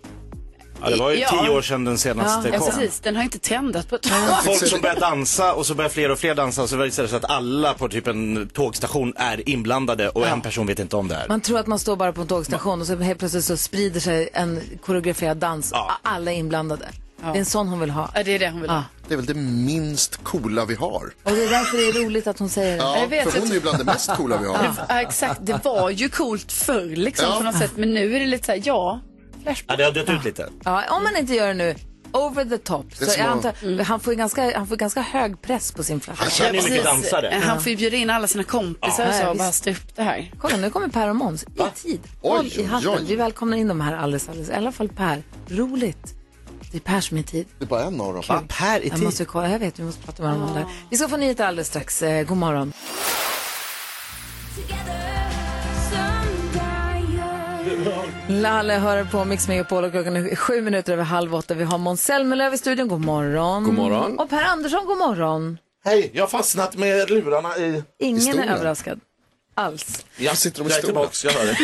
B: Ja, det var ju
C: Ja.
B: tio år sedan den senaste
A: Ja,
C: Ja,
B: kom.
C: precis. Den har inte trendat på ett tag.
B: Folk som börjar dansa och så börjar fler och fler dansa och så börjar det så att alla på typ en tågstation är inblandade och en person vet inte om det här.
A: Man tror att man står bara på en tågstation och så helt plötsligt så sprider sig en koreograferad dans.
B: Ja.
A: Alla är inblandade. Det är en sån hon vill ha.
C: Ja, det är det hon vill ha.
D: Det är väl det minst coola vi har.
A: Och det är därför det är roligt att hon säger det.
D: Ja,
C: Jag vet,
D: för
C: jag
D: hon är ju bland det mest coola vi har.
C: Ja, exakt. Det var ju coolt förr liksom
D: Ja.
C: på något sätt. Men nu är det lite så här, ja.
B: Ja, det har dött ut lite.
A: Ja, om man inte gör det nu, over the top. Så
D: är små-
A: jag antar, han, får ju ganska, han får ganska hög press på sin flaska.
B: Jag känner ju mycket
C: Precis. Eh,
B: dansare.
C: Han får ju bjuda in alla sina kompisar och
A: Ja,
C: så och bara
A: visst.
C: stå upp det här.
A: Kolla, nu kommer Per och Måns i tid.
D: Oj,
A: Håll i
D: oj,
A: hatten.
D: oj.
A: Vi välkomnar in dem här alldeles, alldeles. I alla fall Per. Roligt. Det är Per som är i tid.
D: Det är bara en av dem.
B: Va? Per i
A: Jag
B: tid.
A: måste kolla, jag vet, vi måste prata med honom om det här. Vi ska få nyheter alldeles strax. Eh, God morgon. Lalle hör på Mix Megapol och klockan är sju minuter över halv åtta. Vi har Måns Zelmerlöw i studion. God morgon. God
H: morgon.
A: Och Per Andersson, god morgon.
H: Hej, jag har fastnat med lurarna i...
A: Ingen
D: stolen.
A: är överraskad. Alls.
H: Ja,
D: sitter de i
H: jag är
D: stolen?
H: tillbaks, jag hör det.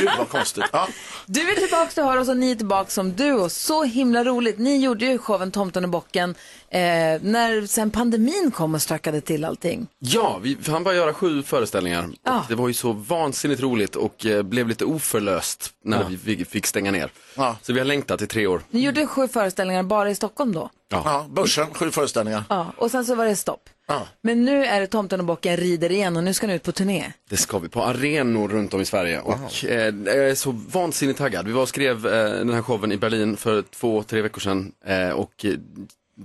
H: Gud vad konstigt. Ja.
A: Du är tillbaka, du hör oss och ni är tillbaka som du. Och så himla roligt. Ni gjorde ju showen Tomten och bocken eh, när sen pandemin kom och stökade till allting.
H: Ja, vi hann bara göra sju föreställningar. Och
A: Ja.
H: Det var ju så vansinnigt roligt och eh, blev lite oförlöst när vi fick- fick stänga ner.
I: Ja.
H: Så vi har längtat i tre år.
A: Ni gjorde sju föreställningar bara i Stockholm då.
I: Ja, börsen, sju föreställningar.
A: Ja, och sen så var det stopp.
I: Ja.
A: Men nu är det Tomten och bocken rider igen och nu ska ni ut på turné.
H: Det ska vi, på arenor runt om i Sverige. Och, eh, jag är så vansinnigt taggad. Vi var och skrev eh, den här showen i Berlin för två, tre veckor sedan. Eh, och eh,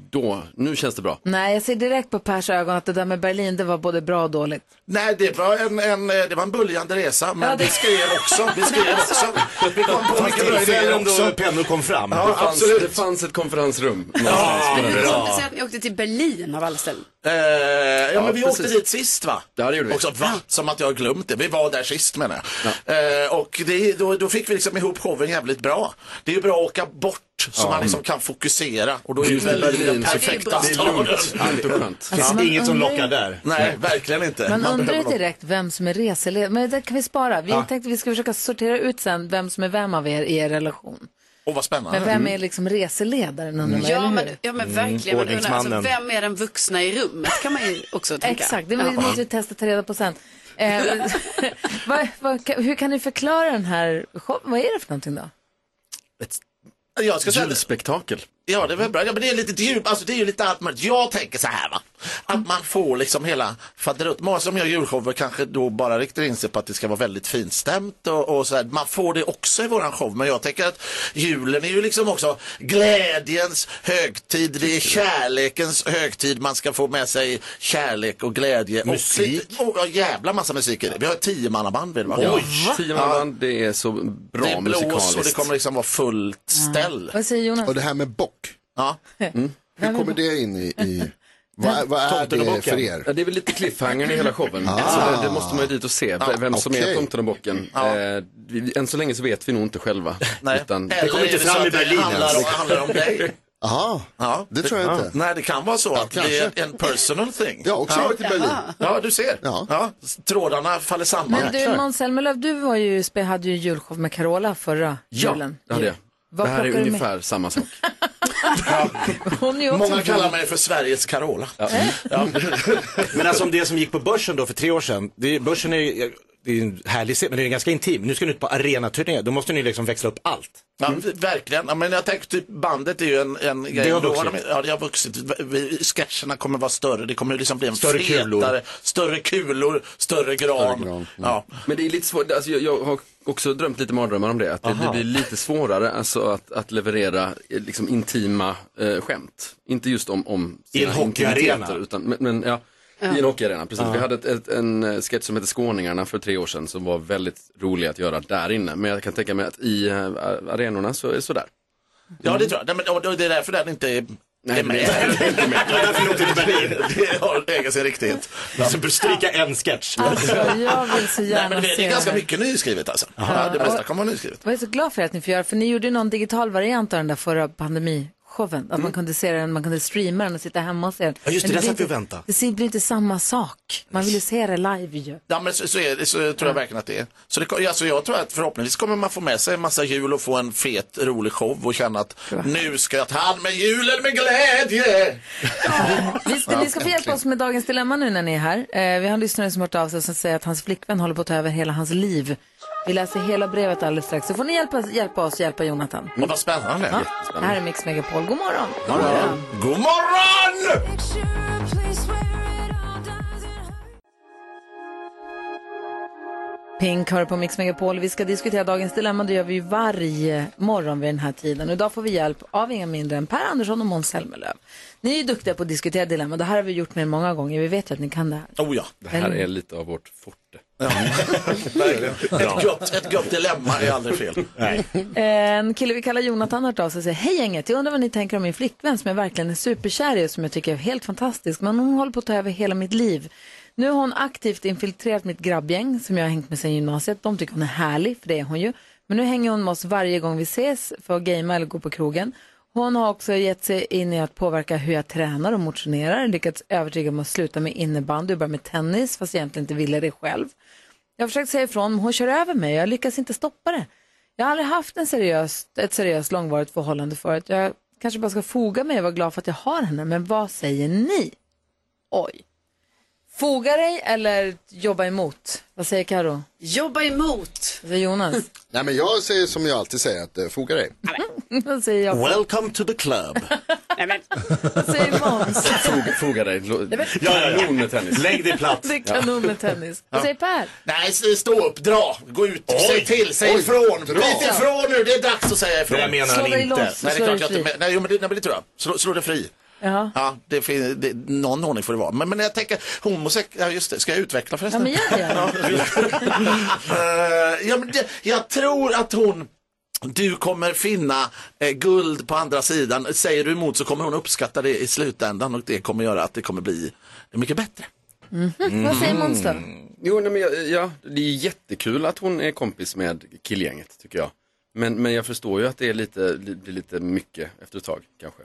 H: då, nu känns det bra.
A: Nej, jag ser direkt på Pers ögon att det där med Berlin, det var både bra och dåligt.
I: Nej, det var en, en, eh, det var en böljande resa, men
A: Ja, det-
I: vi skrev också. Vi skrev också. Vi kom på mycket bra idéer
B: Tillfällen då
I: också.
B: pennor kom fram.
H: Det
I: Ja,
H: fanns, det
I: absolut.
H: fanns ett konferensrum. någonstans på den resan.
C: Jag säger att ni åkte till Berlin av alla ställen.
I: Eh, ja, men vi
H: precis.
I: åkte dit sist va?
H: Ja, det gjorde vi.
I: Också, va? Som att jag har glömt det. Vi var där sist menar jag. Eh, och det, då, då fick vi liksom ihop showen jävligt bra. Det är ju bra att åka bort så man liksom kan fokusera. Och då är ju
H: Just i
I: Berlin den
H: Berlin så
I: perfekta
C: fick-
H: Det är
I: staden.
H: lugnt, allt och skönt.
B: Det finns inget som lockar där.
I: Nej, verkligen inte.
A: Man undrar ju
I: behöver-
A: direkt vem som är reseledare. Men det kan vi spara. Vi tänkte vi ska försöka sortera ut sen vem som är vem av er i er relation.
I: Åh, vad spännande.
A: Men vem är liksom reseledaren undrar man,
C: Ja
A: eller
C: men,
A: hur?
C: ja men verkligen. Man undrar, alltså,
B: Mm, Ordningsmannen.
C: vem är den vuxna i rummet kan man ju också tänka.
A: Exakt, det måste vi testa ta reda på sen. Eh, vad, vad, hur kan ni förklara den här showen? Vad är det för någonting då?
H: Ett
I: Jag ska säga,
H: julspektakel.
I: Ja, det är väl bra. Ja, men det är lite djup, alltså det är ju lite allt möjligt. Jag tänker så här va, att man får liksom hela faderutt. Många som gör julshower kanske då bara riktar in sig på att det ska vara väldigt finstämt och, och så här. Man får det också i våran show, men jag tänker att julen är ju liksom också glädjens högtid. Det är kärlekens högtid. Man ska få med sig kärlek och glädje.
B: Musik.
I: Och, och, och jävla massa musik i det. Vi har ett tiomannaband vill du
H: Oj, tio man band, det är så bra
I: Det är blås och det
H: musikaliskt.
I: kommer liksom vara fullt ställ.
A: Vad säger Jonas?
D: Och det här med bock,
I: Ja.
D: hur kommer det in i... i vad, vad är
B: Tomten och
D: det
B: bocken.
D: för er?
H: Ja, det är väl lite cliffhanger i hela showen.
A: Ah.
H: Alltså, det, det måste man ju dit och se, v- vem som är
D: okej.
H: tomten och bocken. Eh, vi- än så länge så vet vi nog inte själva.
I: Nej.
H: Utan,
A: Eh,
I: Eller
B: kommer inte
I: är det
B: fram
I: så
B: i
I: att det
B: Berlin
I: Handlar om,
B: ens.
I: handlar om dig.
D: Aha,
I: Ja.
D: det tror jag inte.
I: Nej, det kan vara så att det är
D: kanske.
I: en personal thing.
D: Jag har också varit i Berlin.
I: Ja, du ser.
D: Ja.
I: Trådarna faller samman.
A: Men du Måns Zelmerlöw, du var ju, spe- hade ju julshow med Carola förra
H: ja,
A: julen.
H: det hade jag.
A: Vad
H: det här är
A: plockar du med?
H: ungefär samma sak.
A: Hon är ju också
I: Många kallar mig för Sveriges Carola. Mm. Ja.
B: Men alltså om det som gick på börsen då för tre år sedan. Det, börsen är, det är en härlig scen, men det är ganska intim. Nu ska ni ut på arenaturné, då måste ni liksom växla upp allt. Mm.
I: Ja, Verkligen. Ja, men jag tänker typ bandet är ju en, en grej.
B: har
I: Då
B: vuxit.
I: de- Ja, det har vuxit. Vi- Sketcherna kommer vara större. Det kommer liksom bli en
B: Större
I: fetare,
B: kulor.
I: större kulor, större gran. Ja.
H: Men det är lite svårt, alltså, jag, jag har också drömt lite mardrömmar om det, att det, det blir lite svårare alltså, att, att leverera eh, liksom, intima eh, skämt. Inte just om, om
B: I en
H: sina
B: hockeyarena.
H: intimiteter, Utan, men, men, ja, I en hockeyarena, precis. Vi hade ett, ett, en eh, sketch som hette Skåningarna för tre år sedan som var väldigt rolig att göra där inne. Men jag kan tänka mig att i eh, arenorna så är det sådär.
I: ja, det tror jag. Nej, men, och det är därför den inte är är med.
B: Det var därför jag åkte till Berlin.
I: Det har egen sin riktighet.
B: Vi ska stryka en sketch.
A: Alltså, jag vill så
I: Nej,
A: gärna
I: men det,
A: se
I: det är ganska
A: här.
I: mycket nyskrivet alltså. Ja, det mesta kommer vara nyskrivet.
A: Jag är så glad för att ni får göra, för ni gjorde ju någon digital variant av den där förra pandemishowen. Att man kunde se den, man kunde streama den och sitta hemma och se den.
B: Ja, just det,
A: Men
B: där satt
A: blir
B: vi och väntade.
A: inte- Det blir inte samma sak. Man vill ju se det live ju.
I: Ja, men så, så, är, det- så tror jag verkligen att det är. Så det, ko- alltså, jag tror att förhoppningsvis kommer man få med sig en massa jul och få en fet, rolig show och känna att nu ska jag ta hand med julen med glädje.
A: Visst, ni ska få hjälpa oss med dagens dilemma nu när ni är här. Eh, vi har en lyssnare som har hört av sig som säger att hans flickvän håller på att ta över hela hans liv. Vi läser hela brevet alldeles strax. Så får ni hjälpa, hjälpa oss hjälpa Jonathan.
I: Och vad spännande.
A: Ja, det här är Mix Megapol. God morgon!
I: God morgon!
A: Pink hör på Mix Megapol. Vi ska diskutera dagens dilemma. Det gör vi ju varje morgon vid den här tiden. Och idag får vi hjälp av inga mindre än Per Andersson och Måns Zelmerlöw. Ni är ju duktiga på att diskutera dilemma. Det här har vi gjort med er många gånger. Vi vet ju att ni kan det här.
I: Oh ja,
H: Det här är lite av vårt forte.
I: verkligen. Ett gott, ett gott dilemma är aldrig fel.
A: En kille vi kallar Jonathan har hört av sig och säger Hej gänget, jag undrar vad ni tänker om min flickvän som jag verkligen är superkär i och som jag tycker är helt fantastisk. Men hon håller på att ta över hela mitt liv. Nu har hon aktivt infiltrerat mitt grabbgäng som jag har hängt med sedan gymnasiet. De tycker hon är härlig, för det är hon ju. Men nu hänger hon med oss varje gång vi ses för att gamea eller gå på krogen. Hon har också gett sig in i att påverka hur jag tränar och motionerar. Lyckats övertyga mig att sluta med innebandy och börja med tennis fast jag egentligen inte ville det själv. Jag har försökt säga ifrån, men hon kör över mig. Jag lyckas inte stoppa det. Jag har aldrig haft en seriös, ett seriöst långvarigt förhållande förut. Jag kanske bara ska foga mig och vara glad för att jag har henne. Men vad säger ni? Oj. Foga dig eller jobba emot? Vad säger Karo?
C: Jobba emot.
A: Vad säger Jonas?
D: Nej, men jag säger som jag alltid säger, att eh, foga dig.
A: vad säger jag?
I: Welcome to the club.
C: Nej, men,
A: Vad säger Måns?
H: Foga, foga dig, Lo- kanon med tennis.
B: Lägg dig platt.
A: Det är kanon med tennis. Vad säger Per?
I: Nej, s- stå upp, dra, gå ut, säg till, säg
D: Oj,
I: ifrån.
D: dra.
I: Bryt ifrån nu, det är dags att säga
B: Det
I: ifrån.
B: där menar
A: Slå
B: han
A: dig
B: inte.
A: loss.
I: Nej, det
A: Slå
I: är klart
A: dig
I: jag
A: fri.
I: inte men- nej, jo, men det, nej, men det tror jag. Slå, slå dig fri.
A: Ja.
I: Ja, det finns, det, någon ordning får det vara. Men, men jag tänker, homosex, ja just det, ska jag utveckla
A: Ja,
I: förresten?
A: men gör det.
I: Eh, ja, men det, jag tror att hon du kommer finna eh, guld på andra sidan. Säger du emot så kommer hon uppskatta det i slutändan och det kommer göra att det kommer bli mycket bättre.
A: Vad säger Måns då?
B: Mm.
H: Jo, nej, men jag, ja, det är ju jättekul att hon är kompis med killgänget tycker jag. Men, men jag förstår ju att det är lite, li- blir lite mycket efter ett tag kanske.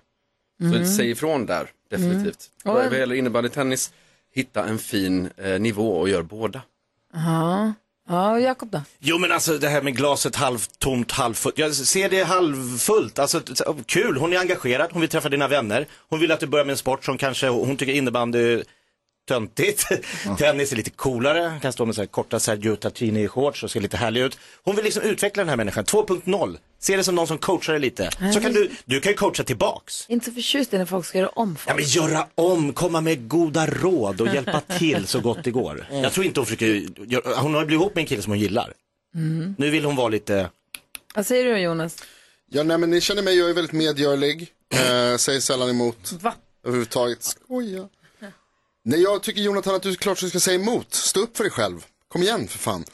H: Så säg ifrån där, definitivt.
A: Mm.
H: Vad vad gäller innebandytennis, hitta en fin eh, nivå och gör båda.
A: Ja, ja och Jakob då?
B: Jo men alltså det här med glaset halvtomt, halvfullt. Jag ser det halvfullt. Alltså t- t- kul, hon är engagerad, hon vill träffa dina vänner. Hon vill att du börjar med en sport som kanske, hon tycker innebandy är töntigt. Tennis är lite coolare, hon kan stå med så här korta Sergio Tatini-shorts och se lite härlig ut. Hon vill liksom utveckla den här människan, 2.0. Se det som någon som coachar dig lite. Så kan du, du kan ju coacha tillbaks.
A: Inte så förtjust i när folk ska göra om
B: Ja
A: folk.
B: men göra om, komma med goda råd och hjälpa till så gott det går.
I: Mm.
B: Jag tror inte hon försöker, gör- hon har ju blivit ihop med en kille som hon gillar.
I: Mm.
B: Nu vill hon vara lite
A: Vad säger du Jonas?
D: Ja, nej, men ni känner mig, jag är väldigt medgörlig. Eh, säger sällan emot.
A: Va?
D: Överhuvudtaget. Skoja. Nej, jag tycker Jonathan att du klart du ska säga emot. Stå upp för dig själv. Kom igen för fan.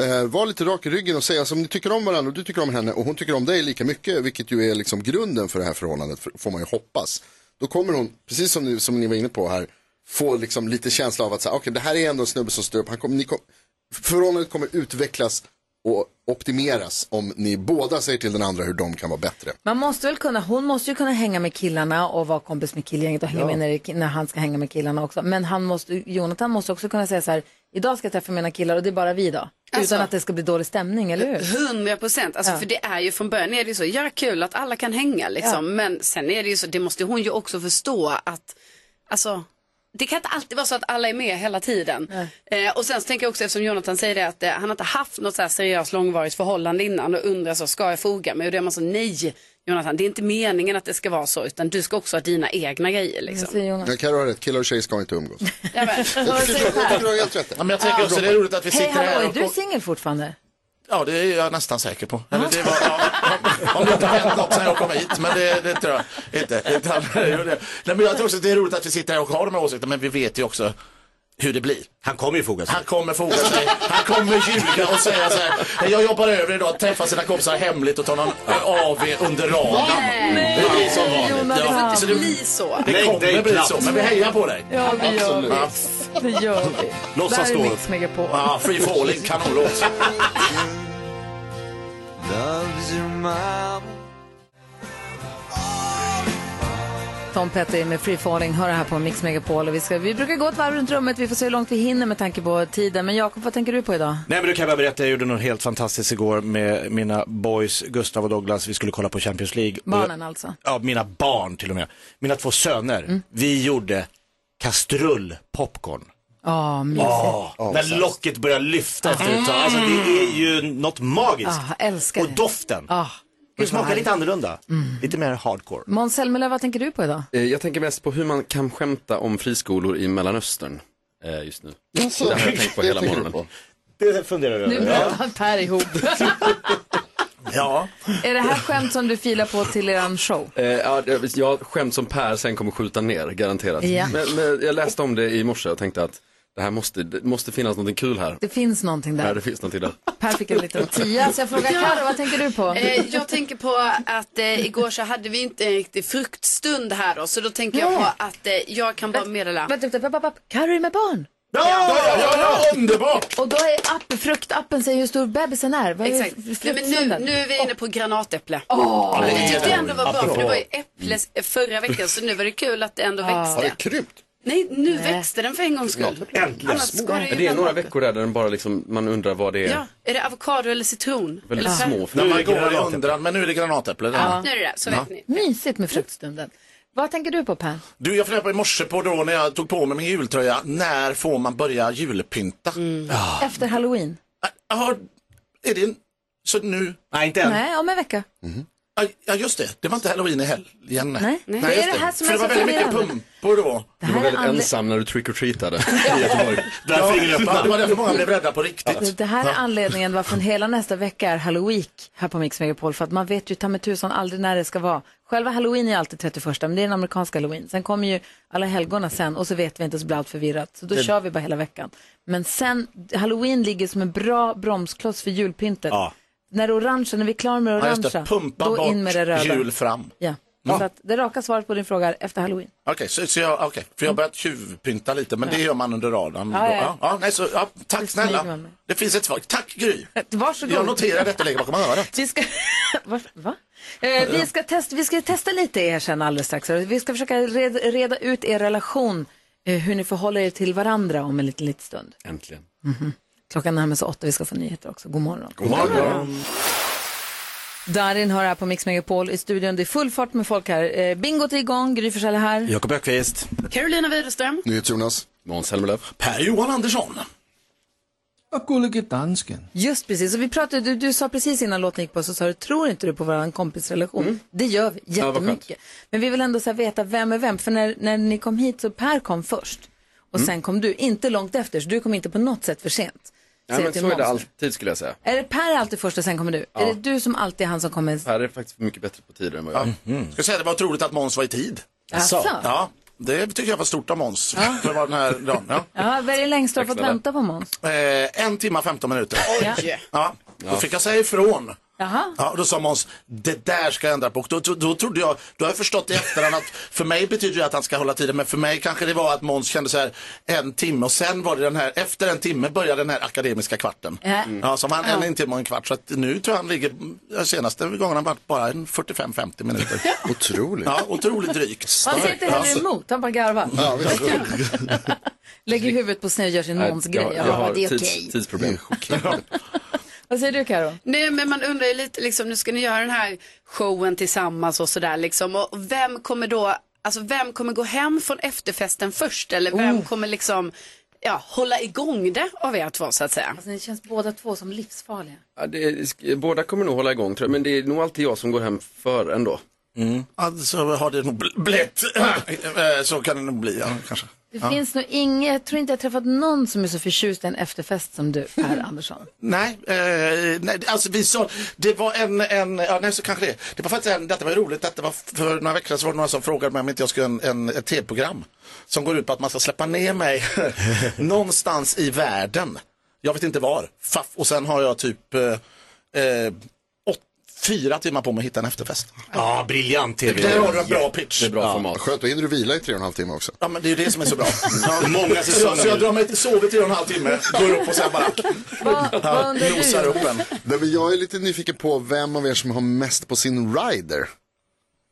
D: Eh, var lite rak i ryggen och säg alltså, om ni tycker om varandra och du tycker om henne och hon tycker om dig lika mycket, vilket ju är liksom grunden för det här förhållandet, för- får man ju hoppas. Då kommer hon, precis som, ni- som ni var inne på här, få liksom lite känsla av att så här, okej, det här är ändå en snubbe som står upp. Han kommer, ni kom, förhållandet kommer utvecklas och optimeras om ni båda säger till den andra hur de kan vara bättre.
A: Man måste väl kunna, hon måste ju kunna hänga med killarna och vara kompis med killgänget och hänga med när, det- när han ska hänga med killarna också. Men han måste, Jonathan måste också kunna säga så här, idag ska jag träffa mina killar och det är bara vi då.
C: Alltså.
A: Utan att det ska bli dålig stämning, eller hur?
C: 100 procent. Alltså, För det är ju från början är det ju så, göra kul att alla kan hänga liksom. Men sen är det ju så, det måste hon ju också förstå att, alltså, det kan inte alltid vara så att alla är med hela tiden. Eh, och sen så tänker jag också, eftersom Jonathan säger det, att eh, han har inte haft något så här seriöst långvarigt förhållande innan och undrar så, ska jag foga mig? Och då är man så, nej Jonathan, det är inte meningen att det ska vara så, utan du ska också ha dina egna grejer
A: Vad
C: liksom.
A: säger Jonas?
D: Jag kan ha rätt, killar och tjejer ska inte umgås. Jag
C: Ja, men,
D: tycker jag tycker du har helt rätt.
I: Ja, men jag tänker också, det är roligt att vi
A: Hej
I: sitter här
A: hallå, är
I: och...
A: du singel fortfarande?
I: Ja, det är jag nästan säker på. Eller det var, ja, om det inte har hänt något sen jag kom hit, men det, det tror jag inte. Utan, nej, men jag tror också att det är roligt att vi sitter här och har de här åsikterna, men vi vet ju också hur det blir.
B: Han kommer ju foga sig.
I: Han kommer foga sig, han kommer ljuga och säga så här, "Nej, jag jobbar över idag, träffar sina kompisar hemligt och tar någon AV under radarn. Det blir som vanligt. Ja,
C: det
I: så
C: får inte
I: det,
C: bli så.
I: det kommer
B: dig
I: bli
B: platt.
I: så, men vi hejar på dig.
A: Ja, det gör vi.
I: Ja,
A: Det gör vi.
B: Låtsas
A: Där
B: då.
A: är Mix Megapol.
I: ja, free falling, kanonlåt.
A: Tom Petty med Free Falling hör det här på Mix Megapol. Och vi, ska, vi brukar gå ett varv runt rummet, vi får se hur långt vi hinner med tanke på tiden. Men Jakob, vad tänker du på idag?
B: Nej men du kan jag bara berätta, jag gjorde något helt fantastiskt igår med mina boys Gustav och Douglas. Vi skulle kolla på Champions League. Och-
A: Barnen alltså.
B: Ja, mina barn till och med. Mina två söner.
I: Mm.
B: Vi gjorde kastrullpopcorn.
A: Ja, mysigt.
B: Ja, när locket börjar lyfta efter ett tag. Alltså det är ju något magiskt.
A: Ah, älskar
B: och
A: det.
B: doften.
A: Ah,
B: det
A: gud vad
B: smakar
A: härligt. Mm.
B: lite annorlunda. Lite mer hardcore.
A: Måns Zelmerlöw, vad tänker du på idag?
H: Eh, Jag tänker mest på hur man kan skämta om friskolor i Mellanöstern eh, just nu. Det har jag tänkt på hela morgonen.
B: Det funderar jag
A: Nu
B: över.
A: bröt Per ihop.
I: Ja.
A: är det här skämt som du filar på till eran show?
H: Eh, ja, det- jag skämt som Per sen kommer skjuta ner, garanterat.
A: Ja.
H: Men, men jag läste om det i morse och tänkte att det här måste, det måste finnas något kul här.
A: Det finns någonting
H: Ja,
A: där.
H: det finns någonting där.
A: Per fick en liten tia, så jag frågar Carro, vad tänker du på?
C: Eh, jag tänker på att eh, igår så hade vi inte en riktig fruktstund här då, så då tänker jag på att eh, jag kan bara meddela.
A: Vänta, vänta, vänta, vänta. Carro är med barn.
I: Ja, ja, ja, ja, underbart!
A: Och då är app, fruktappen säger hur stor bebisen är. Vad är
C: Exakt. Nej, men nu,
A: fruktfrukten?
C: nu är vi inne på granatäpple.
A: Åh,
C: det tyckte jag ändå var bra, för det var ju äpple förra veckan, så nu var det kul att det ändå
D: Har det
C: växte.
D: krympt?
C: Nej, nu växte den för en gångs skull. Annars ska det ju
H: Det är
C: hända.
H: några veckor där, där den bara liksom, man undrar vad det är.
C: Ja, är det avokado eller citron?
H: Väldigt
C: eller
H: små
I: När
H: frukter.
I: man går i undran, men nu är det granatäpple. Ja.
C: Nu är det det, så vet ni.
A: Mysigt med fruktstunden. Vad tänker du på Per?
I: Du, jag funderade på i morse på då när jag tog på mig min jultröja, när får man börja julpynta?
A: Mm. Efter halloween?
I: Ja, är det en... Så nu...
B: Nej, inte än.
A: Nej, om en vecka.
I: Ja, just det. Det var inte halloween i helgen.
A: Nej. Det är
I: just
A: det här som
I: För
A: är
I: det var
A: så
I: väldigt mycket
A: förvirrande.
I: pumpor då.
H: Du var
A: här är
H: väldigt
A: anle-
H: ensam när du trick-or-treatade i Göteborg.
B: Därför ingen
I: Ja, det
B: öppnar.
I: var därför många blev rädda på riktigt.
A: Det- Det här är anledningen varför hela nästa vecka är halloween här på Mix Megapol. För att man vet ju ta med tusan aldrig när det ska vara. Själva halloween är alltid 31, men det är den amerikanska halloween. Sen kommer ju alla helgona sen och så vet vi inte så blir allt förvirrat. Så då kör vi bara hela veckan. Men sen, halloween ligger som en bra bromskloss för julpyntet.
B: Ja.
A: När det orangea, när vi är klara med det
I: Ja, just
A: orangea,
I: det. Pumpa
A: då in med det
I: bort
A: röda.
I: jul fram.
A: Ja. Så att det raka svaret på din fråga är efter halloween.
I: Okej, så, så jag, okay. för jag har börjat tjuvpynta lite, men det gör man under radarn.
A: Ja,
I: Ja,
A: ja.
I: ja. ja, nej, så, ja, tack
A: smyger
I: snälla.
A: man med.
I: Det finns ett svar. Tack Gry.
A: Varsågod.
I: Jag noterar detta och lägger bakom örat.
A: Vi ska, va? va? Eh, vi, ska test, vi ska testa lite er sen alldeles strax. Vi ska försöka reda, reda ut er relation, eh, hur ni förhåller er till varandra om en liten, liten stund.
H: Äntligen.
A: Klockan närmar sig åtta, vi ska få nyheter också. God morgon. God morgon. Darin hör här på Mix Megapol i studion. Det är full fart med folk här. Eh, bingot är igång, Gry Forssell är här.
B: Jakob Ökvist.
C: Carolina Widerström.
D: Nyhets-Jonas.
H: Måns Zelmerlöw.
I: Per Johan Andersson.
E: Och gullige dansken.
A: Just precis, och vi pratade, du, du sa precis innan låten gick på så sa du, tror inte du på vår kompisrelation? Det gör vi,
H: Mm. vad skönt.
A: jättemycket. Men vi vill ändå så här veta vem är vem, för när, när ni kom hit så Per kom först och
H: Mm.
A: sen kom du, inte långt efter, så du kom inte på något sätt för sent.
H: Ja,
A: Säger
H: men
A: till
H: så är det
A: Måns.
H: alltid skulle jag säga.
A: Är det Per alltid först och sen kommer du? Är det du som alltid är han som kommer?
H: Per är faktiskt mycket bättre på tider än vad jag är.
I: Ska säga, det var otroligt att Måns var i tid.
A: Jaså?
I: Ja, det tycker jag var stort av Måns. För vad den här dagen. Ja.
A: Ja, vad är det längst du har
H: Tack
A: fått
H: snälla.
A: vänta på Måns?
I: Eh, en timme och 15 minuter.
A: Ja.
I: Ja, då fick jag säga ifrån.
A: Jaha.
I: Ja, då sa Måns, det där ska jag ändra på. Och Då, då, då trodde jag, då har jag förstått i efterhand att för mig betyder det att han ska hålla tiden, men för mig kanske det var att Måns kände så här en timme och sen var det den här, efter en timme började den här akademiska kvarten.
A: Ja. Mm.
I: Ja, som han en, en timme och en kvart. Så att nu tror jag han ligger, ja, senaste gången han varit bara en 45-50 minuter.
D: Otroligt.
I: Ja, otroligt drygt.
A: Han säger inte heller
I: Alltså,
A: emot, han bara garvar.
D: Ja, visst.
A: Lägger huvudet på sned och gör sin
H: Nej,
A: Måns-grej.
H: jag, jag
A: Ja,
H: har
A: det är okej.
H: tids, tidsproblem.
A: Vad säger du Karo?
C: Nej, men man undrar ju lite, liksom, nu ska ni göra den här showen tillsammans och sådär liksom. Och vem kommer då alltså vem kommer gå hem från efterfesten först eller vem
J: Oh.
C: kommer liksom ja, hålla igång det av er två så att säga?
A: Alltså, ni känns båda två som livsfarliga.
H: Ja, det är, båda kommer nog hålla igång tror jag, men det är nog alltid jag som går hem före ändå.
I: Alltså har det nog bl- blivit. Eh, Så kan det nog bli, ja, kanske.
A: Det finns nog ingen, jag tror inte jag träffat någon som är så förtjust i en efterfest som du, Per Andersson.
I: Nej, eh, nej, alltså vi sa, det var en, en, ja nej så kanske det. Det var faktiskt en, detta var roligt, detta var för några veckor sedan så var det några som frågade mig om inte jag skulle göra en, en, ett tv-program. Som går ut på att man ska släppa ner mig någonstans i världen. Jag vet inte var. Faff, och sen har jag typ eh, eh, åt, fyra timmar på mig att hitta en efterfest.
B: Ja, briljant tv.
I: Det var en bra pitch.
H: Det är bra format.
D: Skönt, då hinner du vila i tre och en halv timme också.
I: Ja men det är ju det som är så bra.
B: Många
I: Så jag,
B: säsonger.
I: så jag drar mig till sover till en och en halv timme, går upp och sen bara
A: Vad vad undrar
I: nosar
A: du?
I: upp en.
D: Nej, men jag är lite nyfiken på vem av er som har mest på sin rider.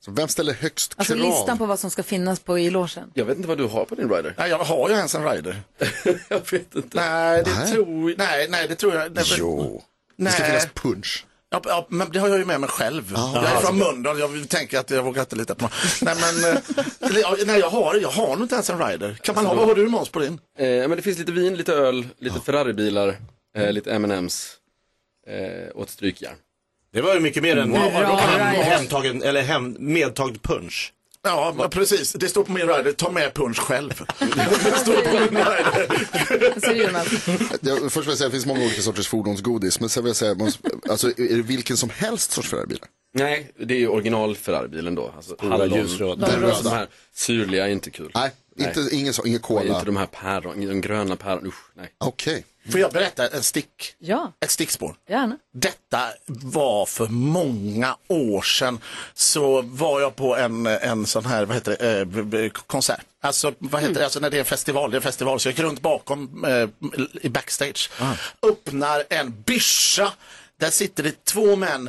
D: Så vem ställer högst
A: Alltså
D: krav?
A: listan på vad som ska finnas på i logen.
H: Jag vet inte vad du har på din rider.
I: Nej, jag har ju ens en rider.
H: jag vet inte.
I: Nej, det
D: Nej.
I: tror jag. Nej, nej, det tror jag. Nej, men-
D: Jo, det ska
I: Nej.
D: finnas Ah. punch.
I: Ja, ja, men det har jag ju med mig själv. jag är från Mölndal, jag tänker att jag vågar inte lita på någon. Nej, men eh, eller, ja, nej, jag har jag har nog inte ens en rider. Kan man ha, vad har du Måns på din?
H: Eh, men det finns lite vin, lite öl, lite Ferraribilar, eh, lite M&M's eh, och ett strykjärn.
B: Det var ju mycket mer än
A: Bra
B: hem,
A: rider.
B: hemtagen, eller hem, medtagd punch.
I: Ja, men precis. Det står på min rider, ta med punsch själv. det står på min rider.
A: Alltså, Jonas.
D: Jag, först vill jag säga att det finns många olika sorters fordonsgodis, men sen vill jag säga, man, alltså, är det vilken som helst sorts Ferraribilar?
H: Nej, det är ju original Ferraribilen då. Alltså,
B: Alla ljusröda.
D: Den
H: De här syrliga är inte kul.
D: Nej, inte, ingen, så- ingen
H: Nej,
D: cola.
H: Inte de här päron, de gröna päron, usch, nej.
D: Okej.
I: Får jag berätta en stick?
A: Ja,
I: Ett stickspår?
A: gärna.
I: Detta var för många år sedan. Så var jag på en, en sån här, vad heter det, eh, b- b- konsert. Alltså, vad
A: Mm.
I: heter det, alltså när det är en festival, det är en festival. Så jag gick runt bakom eh, i backstage.
A: Ah.
I: Öppnar en byscha. Där sitter det två män.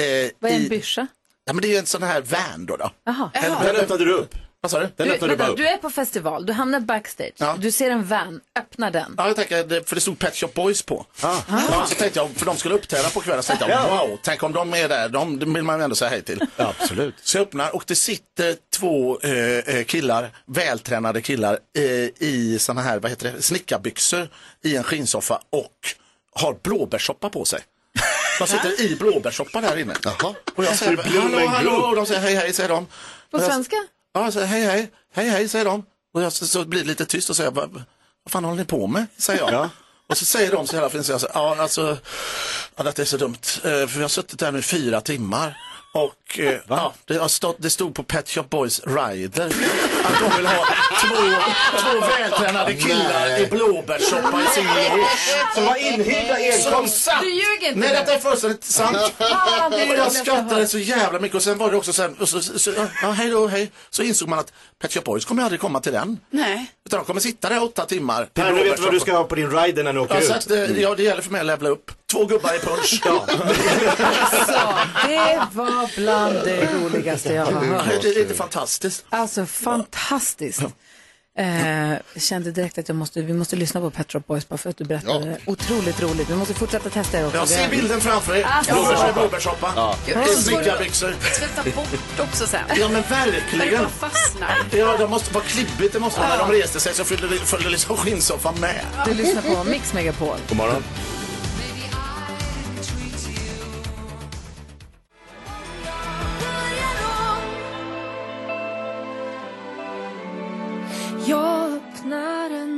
I: Eh,
A: Vad är en
I: i-
A: byscha?
I: Ja, men det är ju en sån här van då. då.
A: Jaha.
I: En,
B: Den öppnade du upp.
I: vad sa du?
B: Den
A: Du,
B: öppnade du bara
A: vänta,
B: upp.
A: du är på festival, du hamnar backstage,
I: Ja.
A: du ser en van, öppnar den.
I: Ja, jag tänker, det- för det stod Pet Shop Boys på.
B: Ah.
I: Ja, så tänkte jag, för de skulle uppträda på kvällen, så tänkte jag, wow, tänk om de är där, de, de vill man ju ändå säga hej till.
B: Ja, absolut.
I: Så jag öppnar och det sitter två eh, eh, killar, vältränade killar eh, i såna här, vad heter det, snickarbyxor i en skinnsoffa och har blåbärssoppa på sig. De sitter i blåbärssoppa där inne.
D: Jaha.
I: Och jag säger, hallå, hallå, och de säger hej, hej, säger de.
A: På
I: Och jag-
A: svenska?
I: Ja, jag säger hej, hej, hej, hej, säger de. Och jag, så, så blir det lite tyst och säger, vad, vad fan håller ni på med? Säger jag. Och så säger de så jävla fint, så jag säger, ja alltså, ja, detta är så dumt, eh, för vi har suttit där nu i fyra timmar. Och eh, ja, det, har stått, det stod på Pet Shop Boys Rider att de vill ha två, två vältränade killar i blåbärssoppa i sin loge.
B: Som var inhyrda
I: Som satt!
A: Du ljuger inte!
I: Nej, detta är fullständigt sant.
A: Fan, Ah, det är det
I: Och jag
A: roligaste jag har
I: skrattade
A: hört.
I: så jävla mycket och sen var det också sen, och så, så, så, ja hej då, hej. Så insåg man att Pet Shop Boys kommer aldrig komma till den.
C: Nej.
I: Utan de kommer sitta där åtta timmar.
B: Per, du vet vad du ska Mm. ha på din rider när du åker
I: Ja, så
B: ut.
I: att, eh, ja, det gäller för mig att levla upp. Två gubbar i punch. ja.
A: Alltså, det var bland det roligaste jag har hört.
I: det, det är inte fantastiskt.
A: Alltså fantastiskt. Eh, jag kände direkt att jag måste, vi måste lyssna på Pet Shop Boys bara för att du berättade det. Otroligt roligt. Vi måste fortsätta testa er också.
I: Jag
A: Det
I: ser
A: är-
I: bilden framför er.
A: Ah,
C: Alltså.
I: Blåbärssoppa. Blåbärssoppa. Ja. Snickarbyxor.
C: Tvätta bort också sen.
I: Ja men
C: Där det
I: verkligen.
C: bara fastnar.
I: Ja, de måste vara klibbigt det måste vara. När de reste sig så följde, följde liksom skinnsoffan med.
A: Du lyssnar på Mix Megapol.
B: God morgon.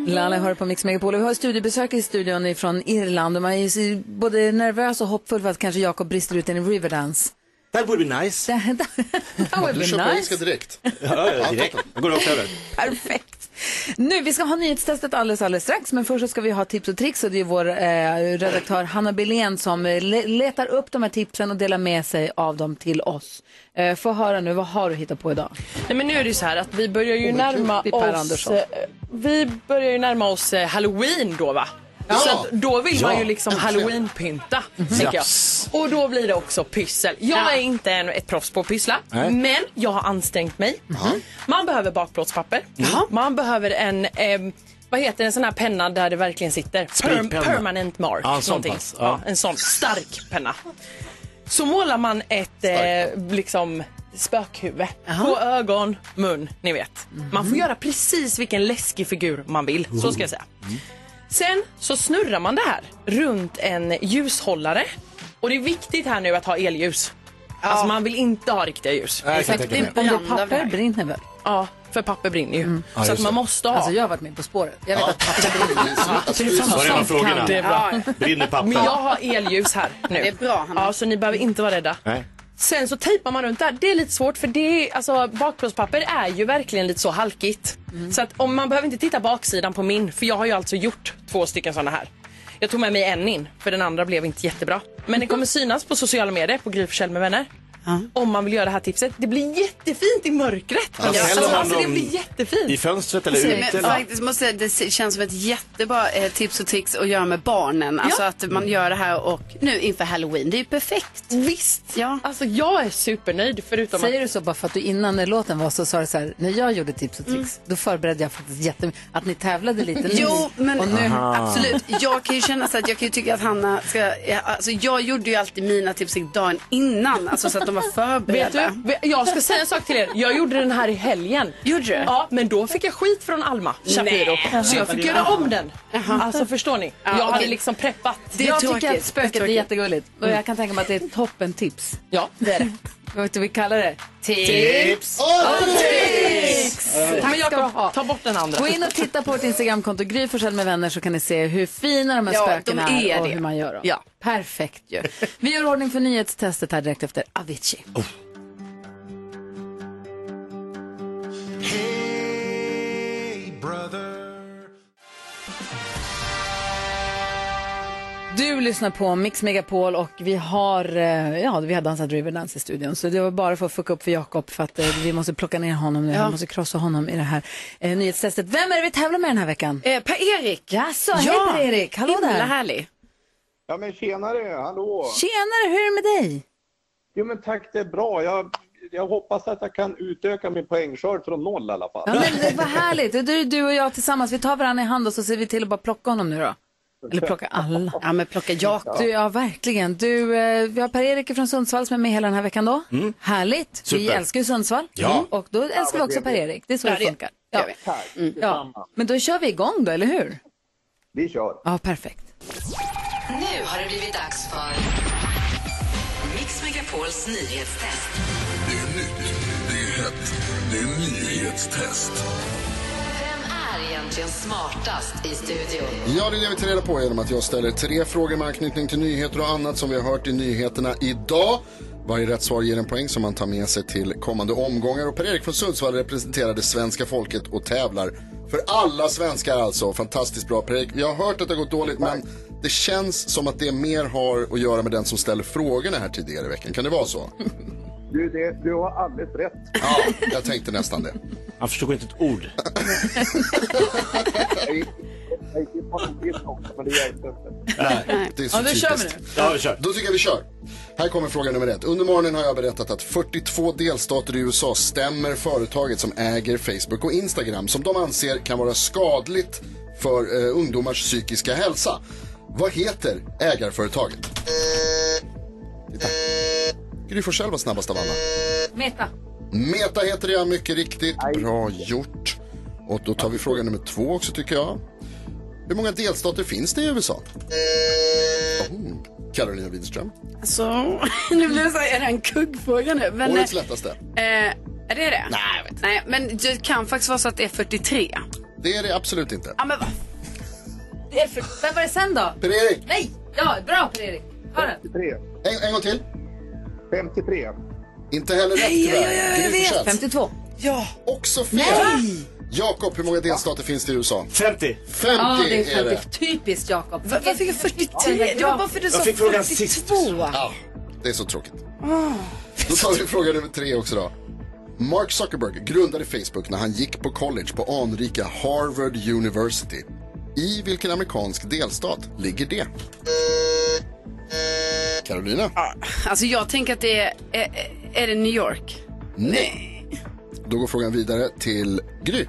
A: Lalla hör på Mix Megapol och vi har studiebesök i studion ifrån Irland och man är ju så- både nervös och hoppfull för att kanske Jakob brister ut i en Riverdance.
B: That would be nice.
A: That would
D: Du
A: be
D: kör på
A: nice.
D: engelska direkt.
B: Ja, ja, direkt. Jag går rakt över.
A: Perfekt. Nu, vi ska ha nyhetstestet alldeles, alldeles strax, men först så ska vi ha tips och tricks och det är vår eh, redaktör Hanna Billén som eh, le- letar upp de här tipsen och delar med sig av dem till oss. Eh, få höra nu, vad har du hittat på idag?
J: Nej, men nu är det ju så här att vi börjar ju närma
A: Det är Oh, Per
J: oss...
A: Andersson.
J: eh, Vi börjar ju närma oss eh, halloween då va? Så att då vill man ju liksom halloweenpynta.
I: Mhm.
J: tänker Jag. Och då blir det också pyssel. Jag är inte en, ett proffs på att pyssla. Men jag har ansträngt mig.
I: Mhm.
J: Man behöver bakplåtspapper. Mm. Man behöver en, eh, vad heter det, en sån här penna där det verkligen sitter. Perm,
I: Spritpenna.
J: permanent mark.
I: Ja, en sån
J: någonting.
I: pass. Ja.
J: Ja. en sån stark penna. Så målar man ett eh, liksom spökhuvud. På ögon, mun, ni vet. Man
I: Mhm.
J: får göra precis vilken läskig figur man vill. Så ska jag säga. Sen så snurrar man det här runt en ljushållare. Och det är viktigt här nu att ha elljus. Alltså man vill inte ha riktiga ljus.
B: Nej, jag kan tänka mig.
A: Om det papper brinner väl?
J: Ja, för papper brinner ju.
B: Ja,
J: Så att
B: just
J: man
B: det.
J: måste ha.
A: Alltså jag har varit med På spåret. Jag vet att papper brinner. Så det är fan
B: Så är det med
A: sånt kan
B: frågorna.
A: det.
J: Ja, ja.
B: Brinner papper?
J: Men jag har elljus här nu.
C: Det är bra, Hanna.
J: Ja, så ni behöver inte vara rädda.
B: Nej.
J: Sen så tejpar man runt där. Det är lite svårt för det är, alltså, bakplåtspapper är ju verkligen lite så halkigt. Så att om man behöver inte titta baksidan på min, för jag har ju alltså gjort två stycken sådana här. Jag tog med mig en in, för den andra blev inte jättebra. Men det kommer synas på sociala medier, på Gry Forssell med vänner. Om man vill göra det här tipset. Det blir jättefint i mörkret.
B: Alltså,
J: alltså,
B: häller man
J: alltså, det
B: dem
J: blir jättefint. Alltså,
B: I fönstret eller
C: Nej,
B: ute?
C: Men
B: Eller?
C: faktiskt måste jag, säga, det känns som ett jättebra eh, tips och tricks att göra med barnen. Alltså
J: Ja.
C: att man gör det här och nu inför halloween. Det är ju perfekt.
J: Visst!
C: Ja.
J: Alltså jag är supernöjd förutom att
A: Säger du så bara för att du innan när låten var så sa du så här, när jag gjorde tips och tricks, då förberedde jag faktiskt jättemycket, att ni tävlade lite.
C: Jo, men
A: Och nu,
C: Mm. absolut. Jag kan ju känna så att jag kan ju tycka att Hanna ska... ja, Alltså jag gjorde ju alltid mina tips dagen innan, alltså så att de var
J: Vet
C: förberedda.
J: du, vet- jag ska säga en sak till er. Jag gjorde den här i helgen.
C: Gjorde du?
J: Ja, men då fick jag skit från Alma Shapiro. Så jag fick göra om den. Alltså förstår ni? Jag hade
C: okej.
J: liksom preppat.
C: Det är
A: jag
C: tråkigt.
A: tycker att spöket är
C: Tråkigt.
A: jättegulligt och jag kan tänka mig att det är ett toppentips.
J: Ja, det är det.
A: Vad vi kallar det?
B: Tips!
J: Men
A: ska du ha.
J: Jakob, ta bort den andra.
A: Gå in och titta på vårt Instagramkonto Gry Forssell med vänner så kan ni se hur fina de här
C: Ja,
A: spökena
C: de är
A: är och
C: det.
A: hur man gör dem.
C: Ja.
A: Perfekt ju. Vi gör ordning för nyhetstestet här direkt efter Avicii. Du lyssnar på Mix Megapol och vi har, eh, ja, vi har dansat Riverdance i studion. Så det var bara för att fucka upp för Jakob för att eh, vi måste plocka ner honom nu. Vi måste krossa honom i det här eh, nyhetstestet. Vem är det vi tävlar med den här veckan?
C: Eh, Per-Erik.
A: Jaså, hej Per-Erik, hallå
C: himla
A: där.
C: härlig.
K: Ja men tjenare, hallå!
A: Tjenare, hur är det med dig?
K: Jo men tack, det är bra. Jag, jag hoppas att jag kan utöka min poängskörd från noll i alla fall.
A: Ja, men det var härligt. Det är du och jag tillsammans. Vi tar varandra i hand och så ser vi till att bara plocka honom nu då. Eller plocka alla.
C: Ja men plocka Jakob.
A: Du, ja, verkligen. Du, eh, vi har Per-Erik från Sundsvall som är med hela den här veckan då. Härligt. Vi
B: Super.
A: älskar ju Sundsvall.
B: Ja.
A: Mm. Och då älskar vi också Per-Erik. Det är så det funkar. Ja. Mm. Ja. Men då kör vi igång då, eller hur?
K: Vi kör!
A: Ja, perfekt.
L: Nu har det blivit dags för Mix Megapols nyhetstest. Vem är egentligen smartast i studion?
D: Ja, det är det vi tar reda på genom att jag ställer tre frågor med anknytning till nyheter och annat som vi har hört i nyheterna idag. Varje rätt svar ger en poäng som man tar med sig till kommande omgångar. Och Per-Erik från Sundsvall representerar det svenska folket och tävlar. För alla svenskar alltså. Fantastiskt bra Per-Erik. Jag har hört att det har gått dåligt, men det känns som att det mer har att göra med den som ställer frågorna här tidigare i veckan. Kan det vara så?
K: Du, det, du har alldeles rätt.
D: Ja, jag tänkte nästan det.
B: Han förstod inte ett ord.
K: Jag gick- jag gick in på en bild också, men det hjälpte inte.
D: Det är så typiskt.
B: Ja, vi kör.
D: Då tycker jag vi kör. Här kommer fråga nummer ett. Under morgonen har jag berättat att 42 delstater i USA stämmer företaget som äger Facebook och Instagram som de anser kan vara skadligt för eh, ungdomars psykiska hälsa. Vad heter ägarföretaget? Titta. Gry Forssell var snabbast av alla.
A: Meta.
D: Meta heter det, ja, mycket riktigt. Bra gjort. Och då tar vi fråga nummer två också tycker jag. Hur många delstater finns det i USA? Oh, Carolina Widerström.
C: Så, Alltså, nu blir det så här, är det en kuggfråga nu? Men,
D: Årets lättaste.
C: eh, är det det? Nej, jag vet inte. Nej, men det kan faktiskt vara så att det är 43.
D: Det är det absolut inte.
C: Ja men vad?
A: Det är för... Vem var det sen då?
D: Per-Erik,
A: Nej! Ja, bra Per-Erik. Hör den.
K: 53.
D: en, en gång till.
K: 53.
D: Inte heller rätt tyvärr. Gry Forssell.
A: 52.
D: Också fel. Jakob, hur många delstater finns det i USA?
B: 50.
D: 50
A: Ja, det är
D: är det.
A: 50. Typiskt Jakob.
C: Va- Varför fick jag 43? Det var bara för du sa
B: fick frågan sist.
C: 42.
D: Ja, det är så tråkigt.
A: Ah.
D: Då tar vi fråga nummer tre också då. Mark Zuckerberg grundade Facebook när han gick på college på anrika Harvard University. I vilken amerikansk delstat ligger det? Carolina?
C: Alltså jag tänker att det är, är, är det New York?
D: Nej. Då går frågan vidare till Gry.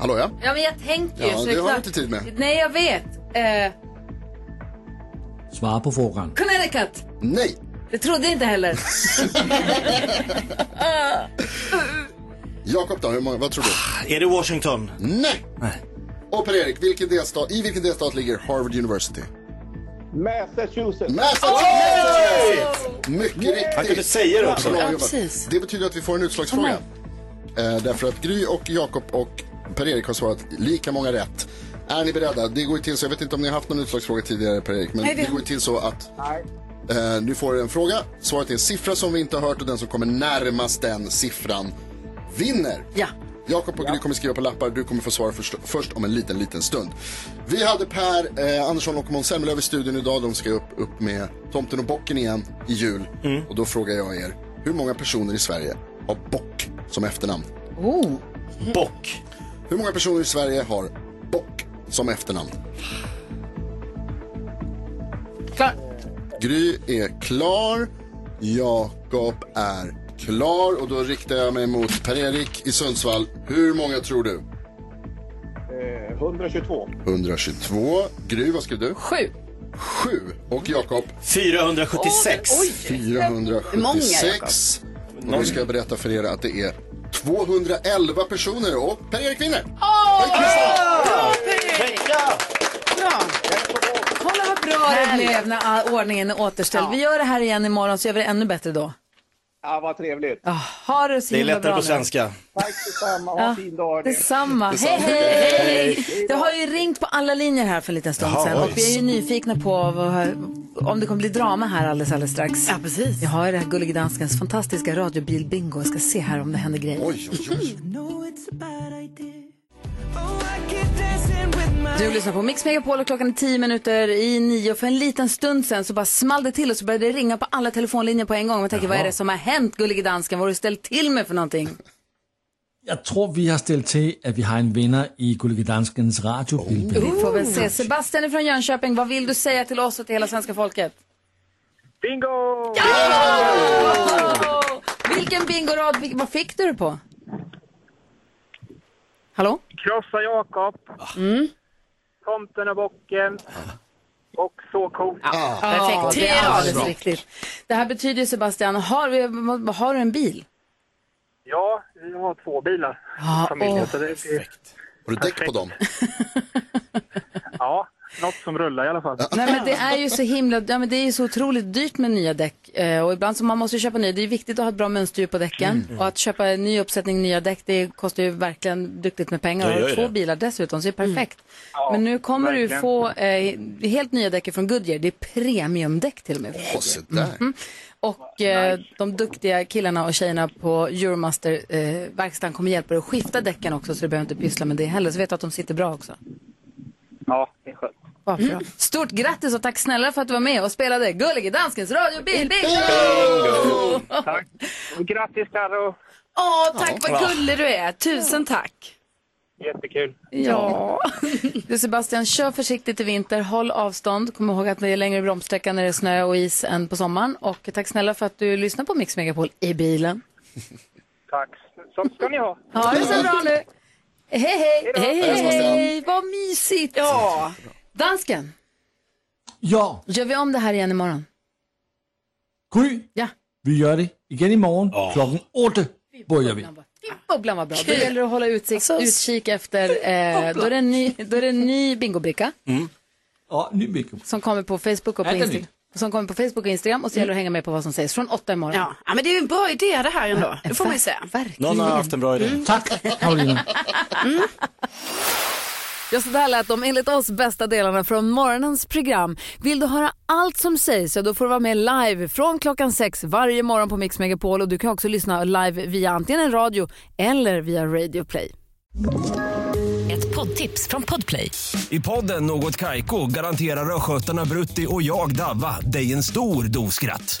D: Hallå ja.
A: Ja, men jag tänker ju.
D: Ja,
A: så
D: det
A: är
D: har
A: klart.
D: du inte tid med.
A: Nej, jag vet. Eh,
E: Svara på frågan.
A: Connecticut.
D: Nej.
A: Det trodde jag inte heller.
D: Jakob då, hur många, vad tror du?
B: Är det Washington?
D: Nej! Och Per-Erik, vilken delstat, i vilken delstat ligger Harvard University?
K: Massachusetts.
D: Massachusetts! Mycket
K: Yeah!
D: riktigt.
K: Han kunde säga det också.
D: Bra
K: Ja,
D: jobbat.
K: precis. Oh
D: Det betyder att vi får en utslagsfråga. Eh, därför att Gry och Jakob och Per-Erik har svarat lika många rätt. Är ni beredda? Det går ju till så, jag vet inte om ni har haft någon utslagsfråga tidigare Per-Erik, men
K: Nej, vi
D: det
K: har-
D: går ju till så att eh, du får en fråga, svaret är en siffra som vi inte har hört och den som kommer närmast den siffran vinner.
A: Ja.
D: Jakob och Gry kommer skriva på lappar, du kommer få svara först, först om en liten, liten stund. Vi hade Per eh, Andersson och Måns Zelmerlöw i studion idag. De ska upp, upp med Tomten och bocken igen i jul.
A: Mm.
D: Och då frågar jag er, hur många personer i Sverige har bock som efternamn?
A: Oh.
B: Bock.
D: Hur många personer i Sverige har bock som efternamn?
A: Klar.
D: Gry är klar. Jakob är klar. Och då riktar jag mig mot Per-Erik i Sundsvall. Hur många tror du?
K: Eh, 122.
D: 122. Gry, vad skrev du?
A: Sju.
D: Sju. Och Jakob?
B: 476.
D: Oj,
C: Många,
B: oj.
D: 476. Och nu ska jag berätta för er att det är 211 personer och Per-Erik vinner.
C: Bra!
A: Kolla vad bra det
K: Härligt.
A: blev när all- ordningen är återställd. Vi gör det här igen imorgon så gör vi det ännu bättre då.
K: Ja, vad trevligt.
A: Ha det så
B: Det är
A: himla
B: lättare
A: bra
B: på
A: nu.
B: svenska.
K: Tack detsamma. Ha en fin dag.
A: Detsamma. Hej,
K: Detsamma.
A: hej, hej!
K: Hej.
A: Det har ju ringt på alla linjer här för en liten stund
L: Jaha,
A: sedan. Och
L: oj.
A: vi är ju nyfikna på vad, om det kommer bli drama här alldeles, alldeles strax. Ja, precis. Vi har ju det här Gullige Danskens fantastiska radiobilbingo. Jag ska se här om det händer grejer. Du lyssnar på Mix Megapol och klockan är 10 minuter i nio. För en liten stund sen så bara small det till och så började det ringa på alla telefonlinjer på en gång. Man tänker, vad är det som har hänt Gullige Dansken? Vad har du ställt till med för någonting?
E: Jeg tror, vi har stillet til, at vi har en vinder i Gullige Danskens
B: Oh.
E: radiobilbingo.
A: Vi får väl se. Sebastian är från Jönköping, vad vill du säga till oss och till hela svenska folket?
K: Bingo!
A: Vilken bingorad, vil- vad fick du det på? Hallå?
K: Krossa Jakob.
A: Mm.
K: Tomten och bocken. Och så coolt.
A: Ja,
C: perfekt.
A: det är
C: Tre
A: alldeles
C: rader.
A: riktigt. Det här betyder ju, Sebastian, har, vi- har du en bil?
K: Ja, vi har två bilar.
A: Ja,
K: familjen,
A: åh.
K: så det är...
D: Har du däck på dem?
K: ja, något som rullar i alla fall.
A: Nej men det är ju så himla, ja, men det är ju så otroligt dyrt med nya däck eh, och ibland så man måste ju köpa nya, det är viktigt att ha ett bra mönsterdjup på däcken
L: Mm.
A: och att köpa en ny uppsättning nya däck det kostar ju verkligen duktigt med pengar
L: Det
A: och
L: gör ju
A: två
L: det.
A: bilar dessutom så det är perfekt. men nu kommer du
L: verkligen.
A: få eh, helt nya däck från Goodyear, det är premiumdäck till och med.
D: Åh, se där.
A: Mhm. Och eh, de duktiga killarna och tjejerna på Euromaster-verkstaden kommer hjälpa dig att skifta däcken också så du behöver inte pyssla med det heller. Så vet du att de sitter bra också.
K: Ja, det är skönt.
A: Vad bra. Stort grattis och tack snälla för att du var med och spelade Gullige Danskens Radio Bil Bingo!
K: Tack. Grattis Carro!
C: Åh, tack vad gullig du är. Tusen tack.
K: Jättekul.
A: Ja. Du Sebastian, kör försiktigt i vinter, håll avstånd. Kom ihåg att det är längre bromssträcka när det är snö och is än på sommaren. Och tack snälla för att du lyssnar på Mix Megapol i bilen.
K: Tack. Så ska ni ha.
A: Ha det så bra nu. Hej, hej! Hej,
K: Hej, Sebastian.
A: hej! Vad mysigt! Ja. Dansken,
E: Ja,
A: gör vi om det här igen imorgon?
E: Gry,
A: Ja.
E: vi gør det igen i morgen klokken 8 börjar vi.
A: Bubblan var bra. Då gäller det att hålla utsikt,
C: Alltså,
A: utkik efter... Eh, då, är det en ny, då är det en ny bingobricka
E: Mm. Og ny mikro.
A: som kommer på Facebook och på
E: Ja, den är
A: Instagram. Som kommer på Facebook och Instagram och så gäller det att hänga med på vad som sägs från åtta imorgon.
C: Ja, ja men det är ju en bra idé det här ändå. Det får man ju säga.
B: Någon har haft en bra idé.
E: Tack, Karolina.
A: Ja, så där lät de enligt oss bästa delarna från morgonens program. Vill du höra allt som sägs så då får du vara med live från klockan sex varje morgon på Mix Megapol och du kan också lyssna live via antingen en radio eller via Radio Play.
L: Ett poddtips från Podplay.
M: I podden Något Kaiko garanterar östgötarna Brutti och jag, Davva, dig en stor dos skratt.